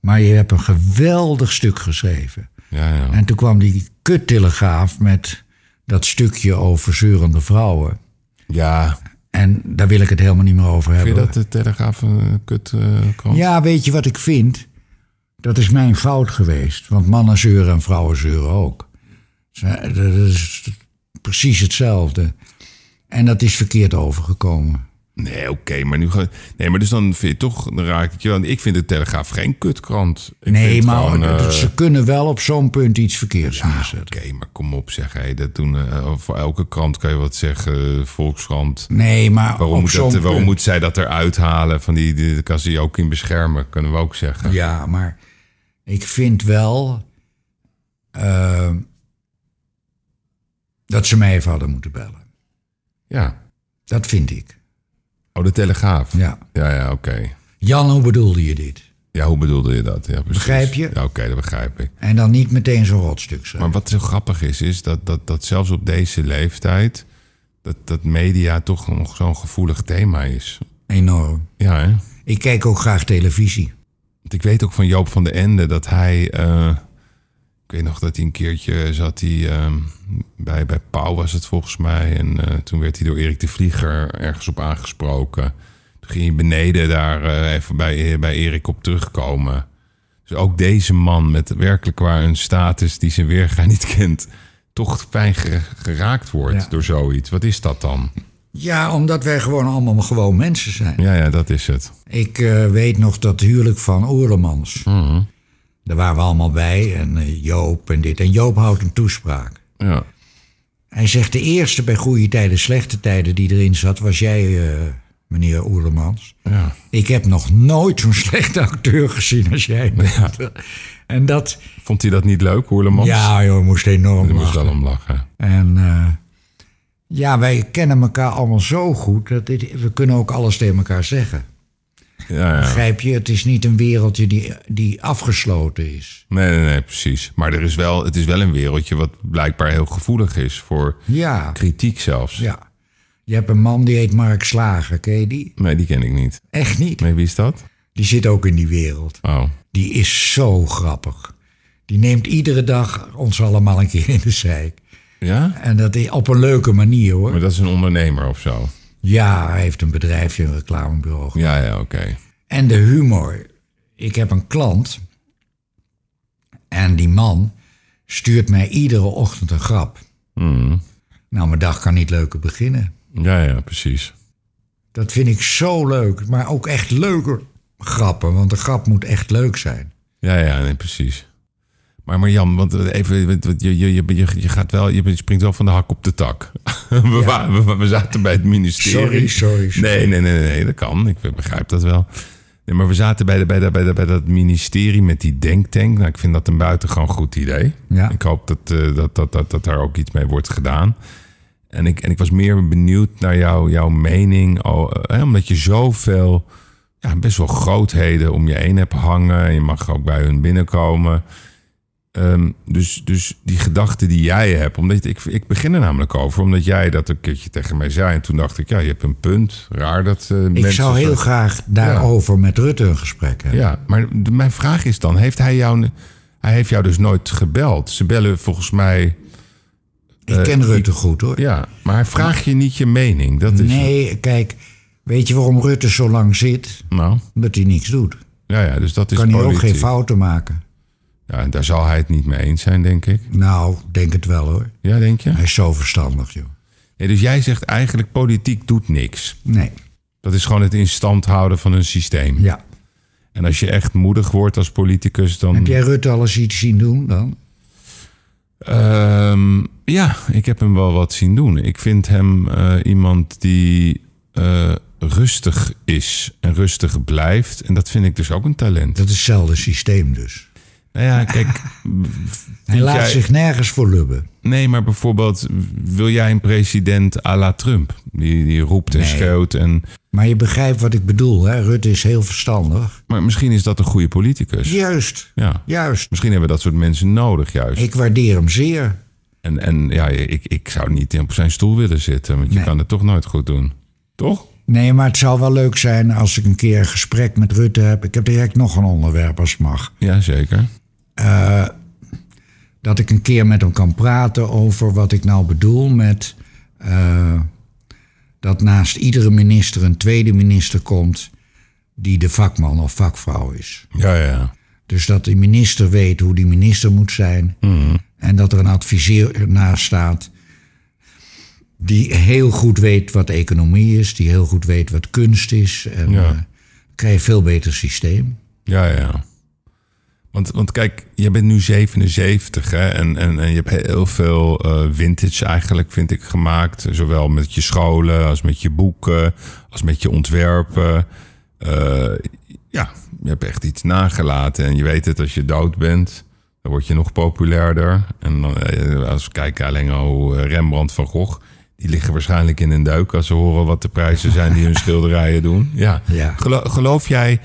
Speaker 2: maar je hebt een geweldig stuk geschreven.
Speaker 1: Ja, ja.
Speaker 2: En toen kwam die kuttelegraaf met dat stukje over zeurende vrouwen.
Speaker 1: ja.
Speaker 2: En daar wil ik het helemaal niet meer over hebben.
Speaker 1: Vind je dat de Telegraaf een kut eh, krant?
Speaker 2: Ja, weet je wat ik vind? Dat is mijn fout geweest. Want mannen zeuren en vrouwen zeuren ook. Ze- Dat is precies hetzelfde. En dat is verkeerd overgekomen.
Speaker 1: Nee, oké, maar nu ga Nee, maar dus dan vind je toch, dan raak ik je. Want ik vind de Telegraaf geen kutkrant. Ik
Speaker 2: Nee,
Speaker 1: vind
Speaker 2: maar
Speaker 1: gewoon, eh,
Speaker 2: dat- ze kunnen wel op zo'n punt iets verkeerds neerzetten.
Speaker 1: Oké, maar kom op, zeg hé. Dat doen, eh, voor elke krant kan je wat zeggen. eh, Volkskrant.
Speaker 2: Nee, maar
Speaker 1: Waarom,
Speaker 2: op
Speaker 1: moet,
Speaker 2: zo'n
Speaker 1: dat,
Speaker 2: punt.
Speaker 1: waarom moet zij dat eruit halen? Van die, die, die kan ze je ook in beschermen, kunnen we ook zeggen.
Speaker 2: Ja, maar ik vind wel eh, dat ze mij even hadden moeten bellen.
Speaker 1: Ja.
Speaker 2: Dat vind ik.
Speaker 1: Oh, de Telegraaf.
Speaker 2: Ja.
Speaker 1: ja, ja, oké.
Speaker 2: Jan, hoe bedoelde je dit?
Speaker 1: Ja, hoe bedoelde je dat? Ja, precies.
Speaker 2: Begrijp je?
Speaker 1: Ja, oké, dat begrijp ik.
Speaker 2: En dan niet meteen zo'n rotstuk zijn.
Speaker 1: Maar wat zo grappig is, is dat, dat, dat zelfs op deze leeftijd... dat, dat media toch nog zo'n gevoelig thema is.
Speaker 2: Enorm.
Speaker 1: Ja, hè?
Speaker 2: Ik kijk ook graag televisie.
Speaker 1: Want ik weet ook van Joop van de Ende dat hij. eh, ik weet nog dat hij een keertje zat hij, ehm, bij, bij Pauw was het volgens mij. En eh, toen werd hij door Erik de Vlieger ergens op aangesproken. Toen ging hij beneden daar eh, even bij, bij Erik op terugkomen. Dus ook deze man met werkelijk waar een status die zijn weerga niet kent... toch fijn ge- geraakt wordt
Speaker 2: Ja.
Speaker 1: door zoiets. Wat is dat dan?
Speaker 2: Ja, omdat wij gewoon allemaal gewoon mensen zijn.
Speaker 1: Ja, ja, dat is het.
Speaker 2: Ik eh, weet nog dat huwelijk van Oerlemans. Daar waren we allemaal bij. En eh, Joop en dit. En Joop houdt een toespraak.
Speaker 1: Ja,
Speaker 2: Hij zegt de eerste bij goede tijden, slechte tijden die erin zat, was jij, eh, meneer Oerlemans.
Speaker 1: ja.
Speaker 2: Ik heb nog nooit zo'n slechte acteur gezien als jij. bent. En dat,
Speaker 1: Vond hij dat niet leuk, Hoerlemans?
Speaker 2: ja joh, ik moest
Speaker 1: Daar
Speaker 2: enorm
Speaker 1: moest
Speaker 2: lachen.
Speaker 1: wel om lachen.
Speaker 2: En eh, ja, wij kennen elkaar allemaal zo goed, dat dit, we kunnen ook alles tegen elkaar zeggen.
Speaker 1: Ja, ja.
Speaker 2: Begrijp je, het is niet een wereldje die, die afgesloten is.
Speaker 1: Nee, nee, nee, precies. Maar er is wel, het is wel een wereldje wat blijkbaar heel gevoelig is voor
Speaker 2: Ja,
Speaker 1: kritiek zelfs.
Speaker 2: ja. Je hebt een man die heet Mark Slager, ken je die?
Speaker 1: Nee, die ken ik niet.
Speaker 2: Echt niet.
Speaker 1: Nee, wie is dat?
Speaker 2: Die zit ook in die wereld.
Speaker 1: Oh,
Speaker 2: Die is zo grappig. Die neemt iedere dag ons allemaal een keer in de zeik.
Speaker 1: ja?
Speaker 2: En dat is op een leuke manier hoor.
Speaker 1: Maar dat is een ondernemer of zo.
Speaker 2: Ja, hij heeft een bedrijfje, een reclamebureau.
Speaker 1: Ja, ja, oké.
Speaker 2: En de humor. Ik heb een klant. En die man stuurt mij iedere ochtend een grap. Nou, mijn dag kan niet leuker beginnen.
Speaker 1: Ja, ja, precies.
Speaker 2: Dat vind ik zo leuk. Maar ook echt leuker grappen. Want de grap moet echt leuk zijn.
Speaker 1: Ja, ja, nee, precies. Maar, maar Jan, want even, want- want je, je, je, je gaat wel, je bent- je springt wel van de hak op de tak. We, wa- we, we zaten bij het ministerie.
Speaker 2: Sorry, sorry, sorry.
Speaker 1: Nee, nee, nee, nee, nee, dat kan. Ik begrijp dat wel. Nee, maar we zaten bij, de, bij, de, bij, de, bij dat ministerie met die denktank. Nou, ik vind dat een buitengewoon goed idee.
Speaker 2: Ja.
Speaker 1: Ik hoop dat, eh, dat, dat, dat, dat daar ook iets mee wordt gedaan. En ik, en ik was meer benieuwd naar jou, jouw mening. oh, eh, hè, omdat je zoveel, ja, best wel grootheden om je heen hebt hangen. Je mag ook bij hun binnenkomen. Ehm, dus, dus die gedachten die jij hebt, omdat ik, ik begin er namelijk over, omdat jij dat een keertje tegen mij zei. En toen dacht ik, ja, je hebt een punt. Raar dat eh
Speaker 2: Ik
Speaker 1: mensen
Speaker 2: zou heel
Speaker 1: zo-
Speaker 2: graag daarover met Rutte een gesprek hebben.
Speaker 1: Ja, maar de- mijn vraag is dan, heeft hij jou, hij heeft jou dus nooit gebeld? Ze bellen volgens mij,
Speaker 2: Ik ken Rutte goed hoor.
Speaker 1: Eh, ja, maar hij vraagt je niet je mening. Dat is
Speaker 2: Nee, kijk, weet je waarom Rutte zo lang zit?
Speaker 1: Nou,
Speaker 2: Omdat hij niks doet.
Speaker 1: ja, ja, dus dat is
Speaker 2: Kan hij ook
Speaker 1: politiek.
Speaker 2: geen fouten maken?
Speaker 1: Ja, en daar zal hij het niet mee eens zijn, denk ik.
Speaker 2: Nou, denk het wel hoor.
Speaker 1: Ja, denk je?
Speaker 2: Hij is zo verstandig, joh.
Speaker 1: Nee, dus jij zegt eigenlijk politiek doet niks.
Speaker 2: Nee.
Speaker 1: Dat is gewoon het in stand houden van een systeem.
Speaker 2: Ja.
Speaker 1: En als je echt moedig wordt als politicus, dan...
Speaker 2: Heb jij Rutte al eens iets zien doen dan?
Speaker 1: Ehm, ja, ik heb hem wel wat zien doen. Ik vind hem eh, iemand die eh, rustig is en rustig blijft. En dat vind ik dus ook een talent.
Speaker 2: Dat is hetzelfde systeem dus.
Speaker 1: Nou ja, kijk.
Speaker 2: Hij laat
Speaker 1: jij-
Speaker 2: zich nergens voor lubben.
Speaker 1: Nee, maar bijvoorbeeld, wil jij een president à la Trump? Die, die roept en
Speaker 2: Nee.
Speaker 1: schreeuwt. En,
Speaker 2: Maar je begrijpt wat ik bedoel, hè? Rutte is heel verstandig.
Speaker 1: maar misschien is dat een goede politicus.
Speaker 2: Juist,
Speaker 1: Ja.
Speaker 2: juist.
Speaker 1: Misschien hebben we dat soort mensen nodig, juist.
Speaker 2: Ik waardeer hem zeer.
Speaker 1: En, en ja, ik, ik zou niet op zijn stoel willen zitten, want je
Speaker 2: Nee.
Speaker 1: kan het toch nooit goed doen. Toch?
Speaker 2: Nee, maar het zou wel leuk zijn als ik een keer een gesprek met Rutte heb. Ik heb direct nog een onderwerp als het mag.
Speaker 1: Ja, zeker.
Speaker 2: Dat ik een keer met hem kan praten over wat ik nou bedoel met... eh, dat naast iedere minister een tweede minister komt die de vakman of vakvrouw is.
Speaker 1: Ja, ja, ja.
Speaker 2: Dus dat de minister weet hoe die minister moet zijn. En dat er een adviseur naast staat. Die heel goed weet wat economie is. Die heel goed weet wat kunst is. En
Speaker 1: Ja.
Speaker 2: eh, dan krijg je een veel beter systeem.
Speaker 1: Ja, ja, ja. Want, want kijk, je bent nu 77 hè? En, en, en je hebt heel veel eh, vintage eigenlijk, vind ik, gemaakt. Zowel met je scholen als met je boeken, als met je ontwerpen. Eh, ja, je hebt echt iets nagelaten. En je weet het, als je dood bent, dan word je nog populairder. En eh, als we kijken alleen al eh, Rembrandt van Gogh... die liggen waarschijnlijk in een duik als ze horen wat de prijzen zijn die hun schilderijen doen. Ja,
Speaker 2: Ja.
Speaker 1: Gelo- geloof jij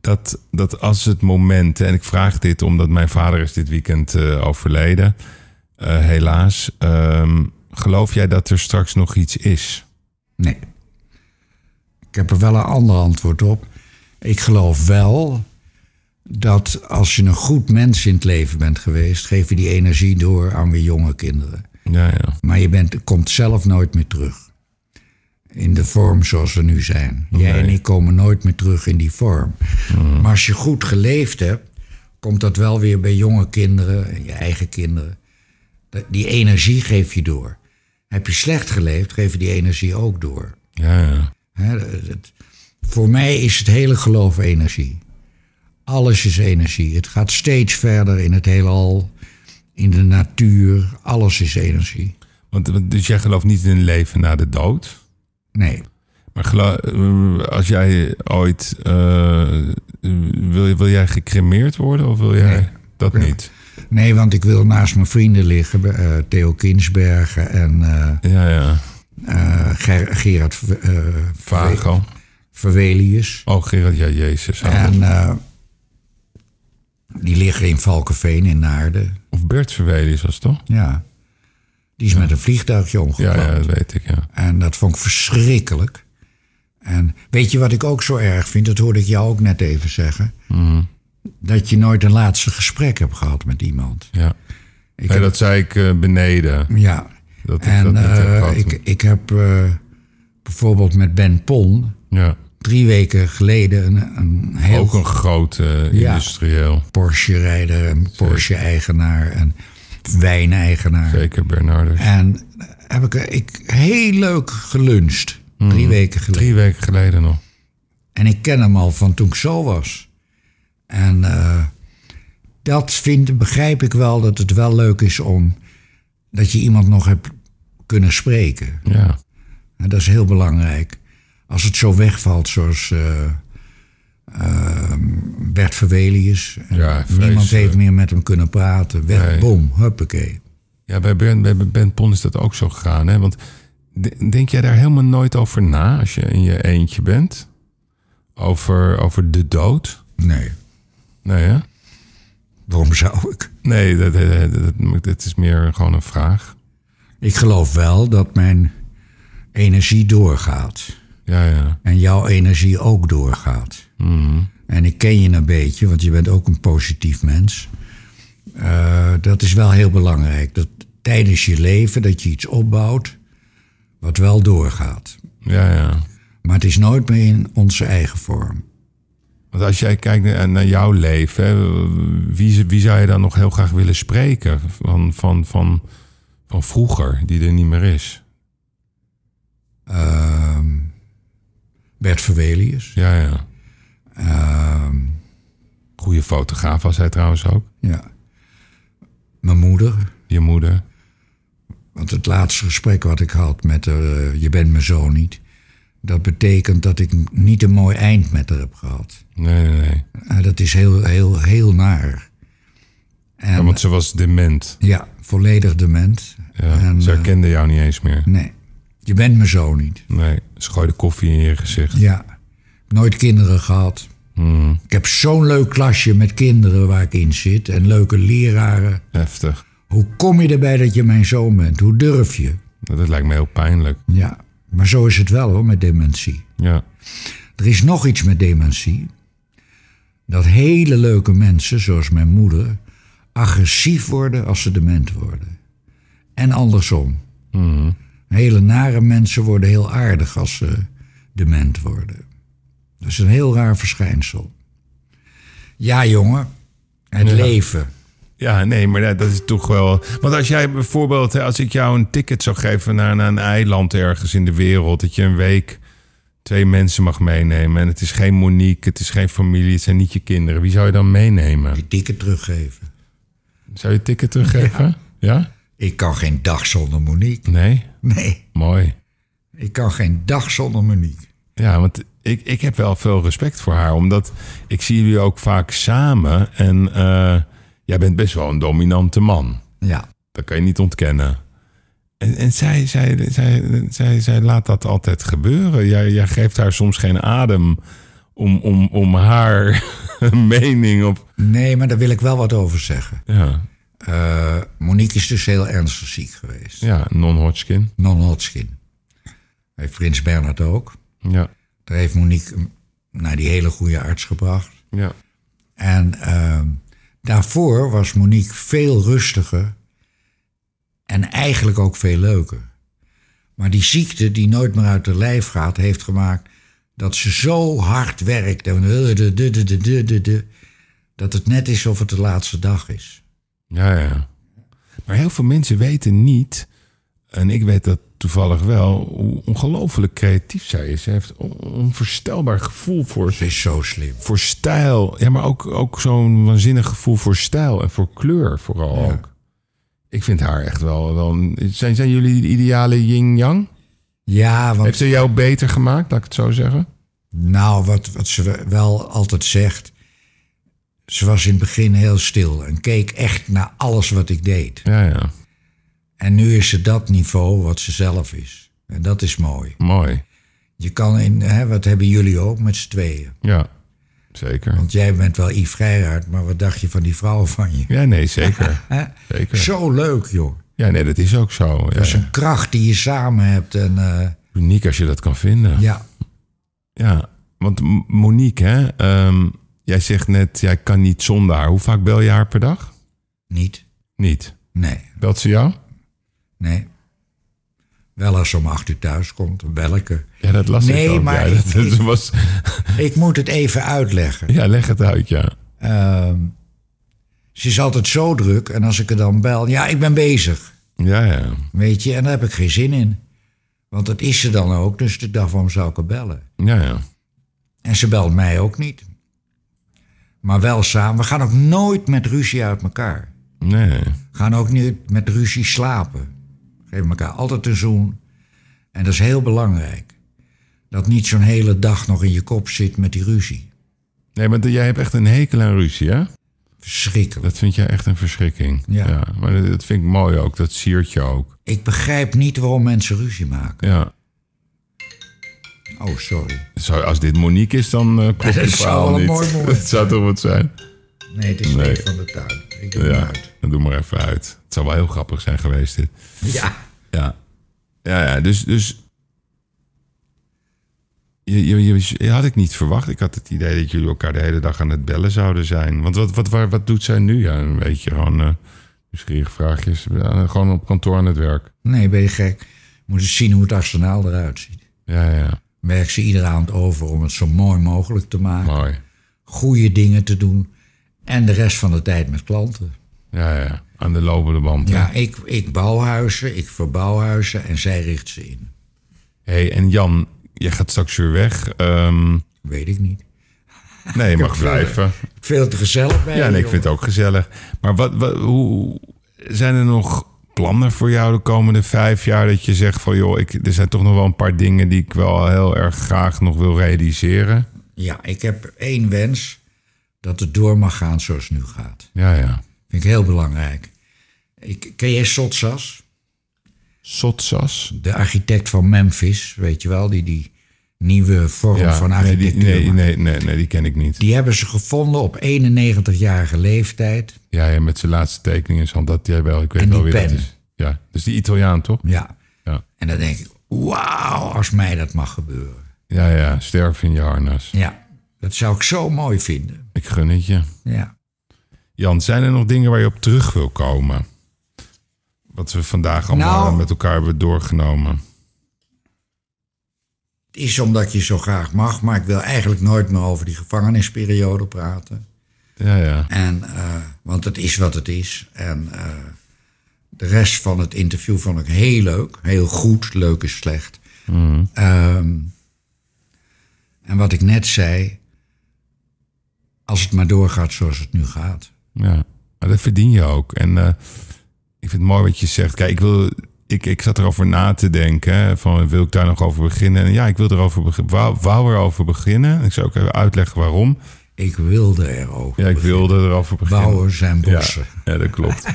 Speaker 1: dat, dat als het moment, en ik vraag dit omdat mijn vader is dit weekend eh, overleden, eh, helaas. ehm, geloof jij dat er straks nog iets is?
Speaker 2: Nee. Ik heb er wel een ander antwoord op. Ik geloof wel dat als je een goed mens in het leven bent geweest, geef je die energie door aan weer jonge kinderen.
Speaker 1: Ja, ja.
Speaker 2: Maar je bent, komt zelf nooit meer terug. In de vorm zoals we nu zijn. Jij en ik komen nooit meer terug in die vorm. Maar als je goed geleefd hebt, komt dat wel weer bij jonge kinderen en je eigen kinderen. Dat- Die energie geef je door. Heb je slecht geleefd, geef je die energie ook door.
Speaker 1: Ja, ja.
Speaker 2: Hè, dat- dat- voor mij is het hele geloof energie. Alles is energie. Het gaat steeds verder in het heelal, in de natuur. Alles is energie.
Speaker 1: Want, want- dus jij gelooft niet in een leven na de dood?
Speaker 2: Nee.
Speaker 1: Maar gelo- eh, als jij ooit. eh, eh, wil, je- wil jij gecremeerd worden of wil jij dat niet?
Speaker 2: Nee, want ik wil naast mijn vrienden liggen. eh, Theo Kinsbergen en eh,
Speaker 1: Ja, ja.
Speaker 2: eh, Ger- Gerard Ver- eh,
Speaker 1: Vago.
Speaker 2: Verwelius.
Speaker 1: Oh, Gerard, ja, Jezus.
Speaker 2: En eh, die liggen in Valkenveen in Naarden.
Speaker 1: Of Bert Verwelius was het toch?
Speaker 2: Ja. Die is met een vliegtuigje
Speaker 1: Ja,
Speaker 2: omgekomen.
Speaker 1: ja, dat weet ik, ja.
Speaker 2: En dat vond ik verschrikkelijk. En weet je wat ik ook zo erg vind? Dat hoorde ik jou ook net even zeggen.
Speaker 1: Mhm.
Speaker 2: Dat je nooit een laatste gesprek hebt gehad met iemand.
Speaker 1: ja.
Speaker 2: Ik
Speaker 1: Nee,
Speaker 2: heb-
Speaker 1: dat zei ik eh, beneden.
Speaker 2: ja.
Speaker 1: Dat ik
Speaker 2: En
Speaker 1: dat niet heb
Speaker 2: eh,
Speaker 1: gehad.
Speaker 2: ik, ik heb eh, bijvoorbeeld met Ben Pon
Speaker 1: ja.
Speaker 2: drie weken geleden een, een heel
Speaker 1: Ook een grote eh,
Speaker 2: Ja.
Speaker 1: industrieel.
Speaker 2: Porsche-rijder, een Porsche-eigenaar en wijneigenaar.
Speaker 1: Zeker Bernardus.
Speaker 2: En heb ik, eh, ik heel leuk geluncht drie weken geleden.
Speaker 1: Hmm. Drie weken geleden nog.
Speaker 2: En ik ken hem al van toen ik zo was. En eh, dat vind, begrijp ik wel, dat het wel leuk is om... dat je iemand nog hebt kunnen spreken.
Speaker 1: Ja.
Speaker 2: En dat is heel belangrijk. Als het zo wegvalt, zoals eh, eh, Bert Verwelius.
Speaker 1: Ja,
Speaker 2: Niemand
Speaker 1: vreselijk.
Speaker 2: heeft meer met hem kunnen praten. Weg,
Speaker 1: Nee.
Speaker 2: bom, huppakee.
Speaker 1: Ja, bij Ben, bij ben Pon is dat ook zo gegaan. Hè? Want de- denk jij daar helemaal nooit over na als je in je eentje bent? Over, over de dood?
Speaker 2: Nee,
Speaker 1: Nee, hè?
Speaker 2: waarom zou ik?
Speaker 1: Nee, dat, dat, dat- dat- dat is meer gewoon een vraag.
Speaker 2: Ik geloof wel dat mijn energie doorgaat.
Speaker 1: Ja, ja.
Speaker 2: En jouw energie ook doorgaat. En ik ken je een beetje, want je bent ook een positief mens. Eh, dat is wel heel belangrijk. Dat tijdens je leven dat je iets opbouwt wat wel doorgaat.
Speaker 1: Ja, ja.
Speaker 2: Maar het is nooit meer in onze eigen vorm.
Speaker 1: Want als jij kijkt naar, naar jouw leven, hè, wie, wie zou je dan nog heel graag willen spreken van, van, van, van vroeger, die er niet meer is?
Speaker 2: ehm, Bert Verwelius.
Speaker 1: Ja, ja.
Speaker 2: ehm,
Speaker 1: Goede fotograaf was hij trouwens ook.
Speaker 2: ja. Mijn moeder.
Speaker 1: Je moeder.
Speaker 2: Want het laatste gesprek wat ik had met haar, eh, je bent mijn zoon niet. Dat betekent dat ik niet een mooi eind met haar heb gehad.
Speaker 1: Nee, nee, nee.
Speaker 2: Eh, dat is heel, heel, heel naar.
Speaker 1: Ja, want ze was dement.
Speaker 2: Ja, volledig dement.
Speaker 1: Ja,
Speaker 2: En,
Speaker 1: ze
Speaker 2: eh,
Speaker 1: herkende jou niet eens meer.
Speaker 2: nee, je bent mijn zoon niet.
Speaker 1: Nee, ze gooide koffie in je gezicht.
Speaker 2: Ja, nooit kinderen gehad. Ik heb zo'n leuk klasje met kinderen waar ik in zit en leuke leraren.
Speaker 1: Heftig.
Speaker 2: Hoe kom je erbij dat je mijn zoon bent? Hoe durf je?
Speaker 1: Dat dat lijkt me heel pijnlijk.
Speaker 2: Ja, maar zo is het wel hoor met dementie.
Speaker 1: Ja.
Speaker 2: Er is nog iets met dementie. Dat hele leuke mensen, zoals mijn moeder, agressief worden als ze dement worden. En andersom. Hele nare mensen worden heel aardig als ze dement worden. Dat is een heel raar verschijnsel. Ja, jongen. Het leven.
Speaker 1: Ja, nee, maar dat, dat is toch wel. Want als jij bijvoorbeeld, hè, als ik jou een ticket zou geven naar, naar een eiland ergens in de wereld, dat je een week twee mensen mag meenemen. En het is geen Monique, het is geen familie, het zijn niet je kinderen. Wie zou je dan meenemen?
Speaker 2: Die ticket teruggeven.
Speaker 1: Zou je het ticket teruggeven? Ja?
Speaker 2: Ik kan geen dag zonder Monique.
Speaker 1: Nee?
Speaker 2: Nee,
Speaker 1: Mooi.
Speaker 2: ik kan geen dag zonder Monique.
Speaker 1: Ja, want ik, ik heb wel veel respect voor haar, omdat ik zie jullie ook vaak samen. En eh, jij bent best wel een dominante man.
Speaker 2: Ja.
Speaker 1: Dat kan je niet ontkennen. En, en zij, zij, zij, zij, zij laat dat altijd gebeuren. Jij, jij geeft haar soms geen adem om, om, om haar mening op.
Speaker 2: Nee, maar daar wil ik wel wat over zeggen.
Speaker 1: Ja,
Speaker 2: Eh, Monique is dus heel ernstig ziek geweest.
Speaker 1: ja non-Hodgkin.
Speaker 2: Non-Hodgkin. Heeft Prins Bernhard ook.
Speaker 1: Ja,
Speaker 2: Daar heeft Monique hem naar die hele goede arts gebracht.
Speaker 1: ja,
Speaker 2: En ehm, daarvoor was Monique veel rustiger. En eigenlijk ook veel leuker. Maar die ziekte die nooit meer uit haar lijf gaat, heeft gemaakt dat ze zo hard werkt. En eh, dat het net is of het de laatste dag is.
Speaker 1: ja, ja. Maar heel veel mensen weten niet, en ik weet dat toevallig wel, hoe ongelooflijk creatief zij is. Ze heeft een onvoorstelbaar gevoel voor,
Speaker 2: Ze is zo slim.
Speaker 1: voor stijl. Ja, maar ook, ook zo'n waanzinnig gevoel voor stijl en voor kleur vooral ook. Ik vind haar echt wel... wel een- zijn, zijn jullie de ideale yin-yang?
Speaker 2: Ja, want
Speaker 1: Heeft ze jou beter gemaakt, laat ik het zo zeggen?
Speaker 2: Nou, wat, wat ze wel altijd zegt. Ze was in het begin heel stil en keek echt naar alles wat ik deed.
Speaker 1: Ja, ja.
Speaker 2: En nu is ze dat niveau wat ze zelf is. En dat is mooi.
Speaker 1: Mooi.
Speaker 2: Je kan in, hè, wat hebben jullie ook met z'n tweeën?
Speaker 1: Ja, zeker.
Speaker 2: Want jij bent wel Yves Geiraert, maar wat dacht je van die vrouw van je?
Speaker 1: Ja, nee, zeker.
Speaker 2: Hè?
Speaker 1: zeker.
Speaker 2: Zo leuk, joh.
Speaker 1: Ja, nee, dat is ook zo. Ja,
Speaker 2: Dat is een kracht die je samen hebt. En, eh,
Speaker 1: Uniek als je dat kan vinden.
Speaker 2: ja,
Speaker 1: Ja, want M- Monique, hè? ehm, jij zegt net, jij kan niet zonder haar. Hoe vaak bel je haar per dag?
Speaker 2: niet?
Speaker 1: Niet.
Speaker 2: Nee,
Speaker 1: Belt ze jou?
Speaker 2: nee. Wel als ze om acht uur thuis komt, welke?
Speaker 1: Ja, dat las
Speaker 2: Nee,
Speaker 1: ik ook.
Speaker 2: maar
Speaker 1: ja, dat,
Speaker 2: ik-
Speaker 1: dat was,
Speaker 2: Ik moet het even uitleggen.
Speaker 1: ja, leg het uit, ja.
Speaker 2: Ehm, ze Dus is altijd zo druk en als ik er dan bel, ja, ik ben bezig,
Speaker 1: Ja, ja.
Speaker 2: weet je, en daar heb ik geen zin in. Want dat is ze dan ook, dus ik dacht, waarom zou ik haar bellen?
Speaker 1: Ja, ja.
Speaker 2: En ze belt mij ook niet. Maar wel samen, we gaan ook nooit met ruzie uit elkaar.
Speaker 1: Nee.
Speaker 2: Gaan ook niet met ruzie slapen. Geven elkaar altijd een zoen. En dat is heel belangrijk. Dat niet zo'n hele dag nog in je kop zit met die ruzie.
Speaker 1: Nee, want jij hebt echt een hekel aan ruzie, hè?
Speaker 2: Verschrikkelijk.
Speaker 1: Dat vind jij echt een verschrikking.
Speaker 2: Ja.
Speaker 1: maar dat- dat vind ik mooi ook. Dat siert je ook.
Speaker 2: Ik begrijp niet waarom mensen ruzie maken.
Speaker 1: Ja.
Speaker 2: Oh, sorry.
Speaker 1: Zo, als dit Monique is, dan eh, klopt
Speaker 2: Dat
Speaker 1: het
Speaker 2: zou
Speaker 1: verhaal
Speaker 2: wel een
Speaker 1: niet.
Speaker 2: mooi moment
Speaker 1: dat zou toch wat zijn?
Speaker 2: Nee, het is
Speaker 1: Nee.
Speaker 2: niet van de tuin. Ik doe
Speaker 1: Ja,
Speaker 2: hem uit.
Speaker 1: dan doe maar even uit. Het zou wel heel grappig zijn geweest, dit.
Speaker 2: Ja.
Speaker 1: Ja. Ja, ja dus... dus je, je, je, je had ik niet verwacht. Ik had het idee dat jullie elkaar de hele dag aan het bellen zouden zijn. Want wat, wat, waar- wat doet zij nu? Ja, een beetje gewoon eh nieuwsgierige vraagjes. Ja, gewoon op kantoor aan het werk.
Speaker 2: Nee, ben je gek. Je Moet eens zien hoe het arsenaal eruit ziet.
Speaker 1: Ja, ja, ja.
Speaker 2: Werk ze iedere avond over om het zo mooi mogelijk te maken.
Speaker 1: Mooi.
Speaker 2: Goede dingen te doen. En de rest van de tijd met klanten.
Speaker 1: Ja, ja, ja. Aan de lopende band. hè?
Speaker 2: Ja, ik, ik bouw huizen, ik verbouw huizen en zij richt ze in.
Speaker 1: hey, en Jan, jij gaat straks weer weg. Ehm,
Speaker 2: Weet ik niet.
Speaker 1: nee, je mag
Speaker 2: veel-
Speaker 1: blijven.
Speaker 2: Veel te gezellig bij
Speaker 1: Ja, en
Speaker 2: je,
Speaker 1: ik vind het ook gezellig. Maar wat, wat, hoe zijn er nog plannen voor jou de komende vijf jaar? Dat je zegt van joh, ik, er zijn toch nog wel een paar dingen die ik wel heel erg graag nog wil realiseren.
Speaker 2: Ja, ik heb één wens. Dat het door mag gaan zoals het nu gaat.
Speaker 1: Ja, ja.
Speaker 2: Vind ik heel belangrijk. Ik, ken jij Sotsas?
Speaker 1: Sotsas.
Speaker 2: De architect van Memphis, weet je wel? Die die nieuwe vorm
Speaker 1: Ja,
Speaker 2: van
Speaker 1: nee,
Speaker 2: architectuur
Speaker 1: die, nee,
Speaker 2: maakt.
Speaker 1: nee, nee, nee, die ken ik niet.
Speaker 2: Die hebben ze gevonden op 91-jarige leeftijd.
Speaker 1: Ja, ja, met zijn laatste tekeningen is al dat jij wel. Ik weet
Speaker 2: En die
Speaker 1: wel wie dat
Speaker 2: pen.
Speaker 1: is. Ja, dus die Italiaan toch?
Speaker 2: Ja.
Speaker 1: Ja.
Speaker 2: En dan denk ik, wauw, als mij dat mag gebeuren.
Speaker 1: Ja, ja, sterf in je harnas.
Speaker 2: Ja, dat zou ik zo mooi vinden.
Speaker 1: Ik gun het je.
Speaker 2: Ja.
Speaker 1: Jan, zijn er nog dingen waar je op terug wil komen? Wat we vandaag allemaal
Speaker 2: Nou.
Speaker 1: met elkaar hebben doorgenomen.
Speaker 2: Het is omdat je zo graag mag, maar ik wil eigenlijk nooit meer over die gevangenisperiode praten.
Speaker 1: Ja, ja.
Speaker 2: En, eh, want het is wat het is. En eh, de rest van het interview vond ik heel leuk. Heel goed. Leuk is slecht.
Speaker 1: Mm-hmm.
Speaker 2: Ehm, en wat ik net zei. Als het maar doorgaat zoals het nu gaat.
Speaker 1: Ja, maar dat verdien je ook. En eh, ik vind het mooi wat je zegt. Kijk, ik, wil, ik, ik zat erover na te denken. hè, Van, wil ik daar nog over beginnen? En ja, ik wil erover beginnen. Wou, wou erover beginnen. Ik zou ook even uitleggen waarom.
Speaker 2: Ik wilde erover.
Speaker 1: Ja, ik wilde erover beginnen.
Speaker 2: Bouwen zijn
Speaker 1: ja,
Speaker 2: bossen.
Speaker 1: ja, dat klopt.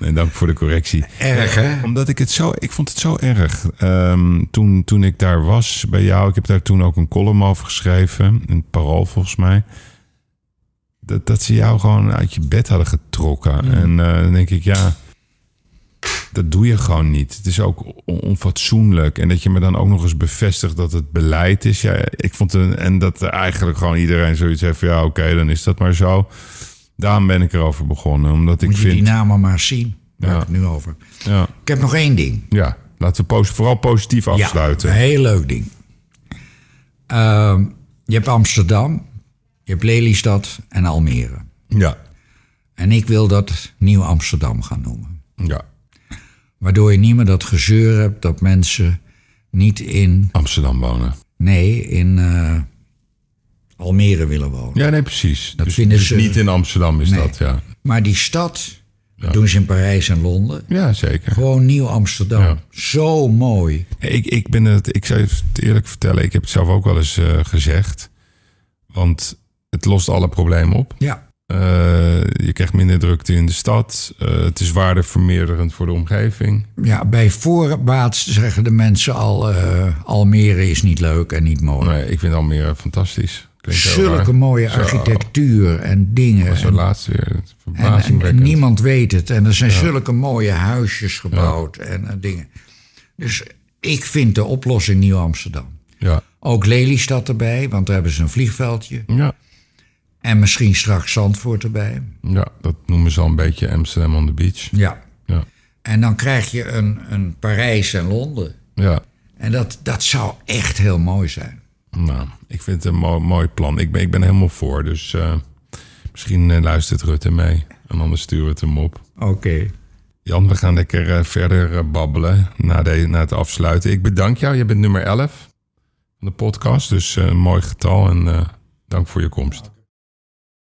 Speaker 1: En dank voor de correctie.
Speaker 2: Erg, hè?
Speaker 1: Omdat ik het zo, ik vond het zo erg. Ehm, toen, toen ik daar was bij jou, ik heb daar toen ook een column over geschreven. In het parool volgens mij. Dat, dat ze jou gewoon uit je bed hadden
Speaker 2: Mm.
Speaker 1: getrokken. En eh, dan denk ik, ja, dat doe je gewoon niet. Het is ook on- onfatsoenlijk. En dat je me dan ook nog eens bevestigt dat het beleid is. Ja, ik vond een, en dat er eigenlijk gewoon iedereen zoiets heeft van, ja, oké, dan is dat maar zo. Daarom ben ik erover begonnen. Omdat ik
Speaker 2: Moet je die
Speaker 1: vind.
Speaker 2: namen maar zien. Waar
Speaker 1: Ja.
Speaker 2: ik het nu over.
Speaker 1: Ja.
Speaker 2: Ik heb nog één ding.
Speaker 1: Ja, laten we pos- vooral positief afsluiten.
Speaker 2: Ja, een heel leuk ding. Ehm, je hebt Amsterdam, je hebt Lelystad en Almere.
Speaker 1: Ja.
Speaker 2: En ik wil dat Nieuw Amsterdam gaan noemen.
Speaker 1: ja.
Speaker 2: Waardoor je niet meer dat gezeur hebt dat mensen niet in,
Speaker 1: Amsterdam wonen.
Speaker 2: nee, in eh, Almere willen wonen.
Speaker 1: Ja, nee, precies. dus
Speaker 2: vinden
Speaker 1: dus
Speaker 2: ze-
Speaker 1: niet in Amsterdam is dat, ja.
Speaker 2: Maar die stad, dat doen ze in Parijs en Londen.
Speaker 1: Ja, zeker.
Speaker 2: Gewoon Nieuw Amsterdam. Zo mooi.
Speaker 1: Hey, Ik, ik, ben het, ik zou je het eerlijk vertellen, ik heb het zelf ook wel eens eh, gezegd. Want het lost alle problemen op.
Speaker 2: Ja.
Speaker 1: Eh, je krijgt minder drukte in de stad. Eh, het is waardevermeerderend voor de omgeving.
Speaker 2: Ja, bij voorbaat zeggen de mensen al... eh, Almere is niet leuk en niet mooi.
Speaker 1: Nee, ik vind Almere fantastisch. Klinkt heel
Speaker 2: Zulke
Speaker 1: raar.
Speaker 2: mooie architectuur en dingen.
Speaker 1: Zo laatst weer.
Speaker 2: En- en- En,
Speaker 1: Verbazingwekkend.
Speaker 2: niemand weet het. En er zijn zulke mooie huisjes gebouwd en, eh, dingen. Dus ik vind de oplossing Nieuw-Amsterdam.
Speaker 1: Ja.
Speaker 2: Ook Lelystad erbij, want daar hebben ze een vliegveldje.
Speaker 1: ja.
Speaker 2: En misschien straks Zandvoort erbij.
Speaker 1: Ja, dat noemen ze al een beetje Amsterdam on the beach.
Speaker 2: Ja.
Speaker 1: Ja.
Speaker 2: En dan krijg je een, een Parijs en Londen.
Speaker 1: Ja,
Speaker 2: En dat, dat zou echt heel mooi zijn.
Speaker 1: nou, ik vind het een mooi, mooi plan. Ik ben, ik ben helemaal voor, dus eh, misschien eh, luistert Rutte mee. En anders sturen we het hem op.
Speaker 2: Oké.
Speaker 1: Jan, we gaan lekker eh, verder eh, babbelen na, de, na het afsluiten. Ik bedank jou. Je bent nummer 11 van de podcast, dus eh, een mooi getal. En eh, dank voor je komst.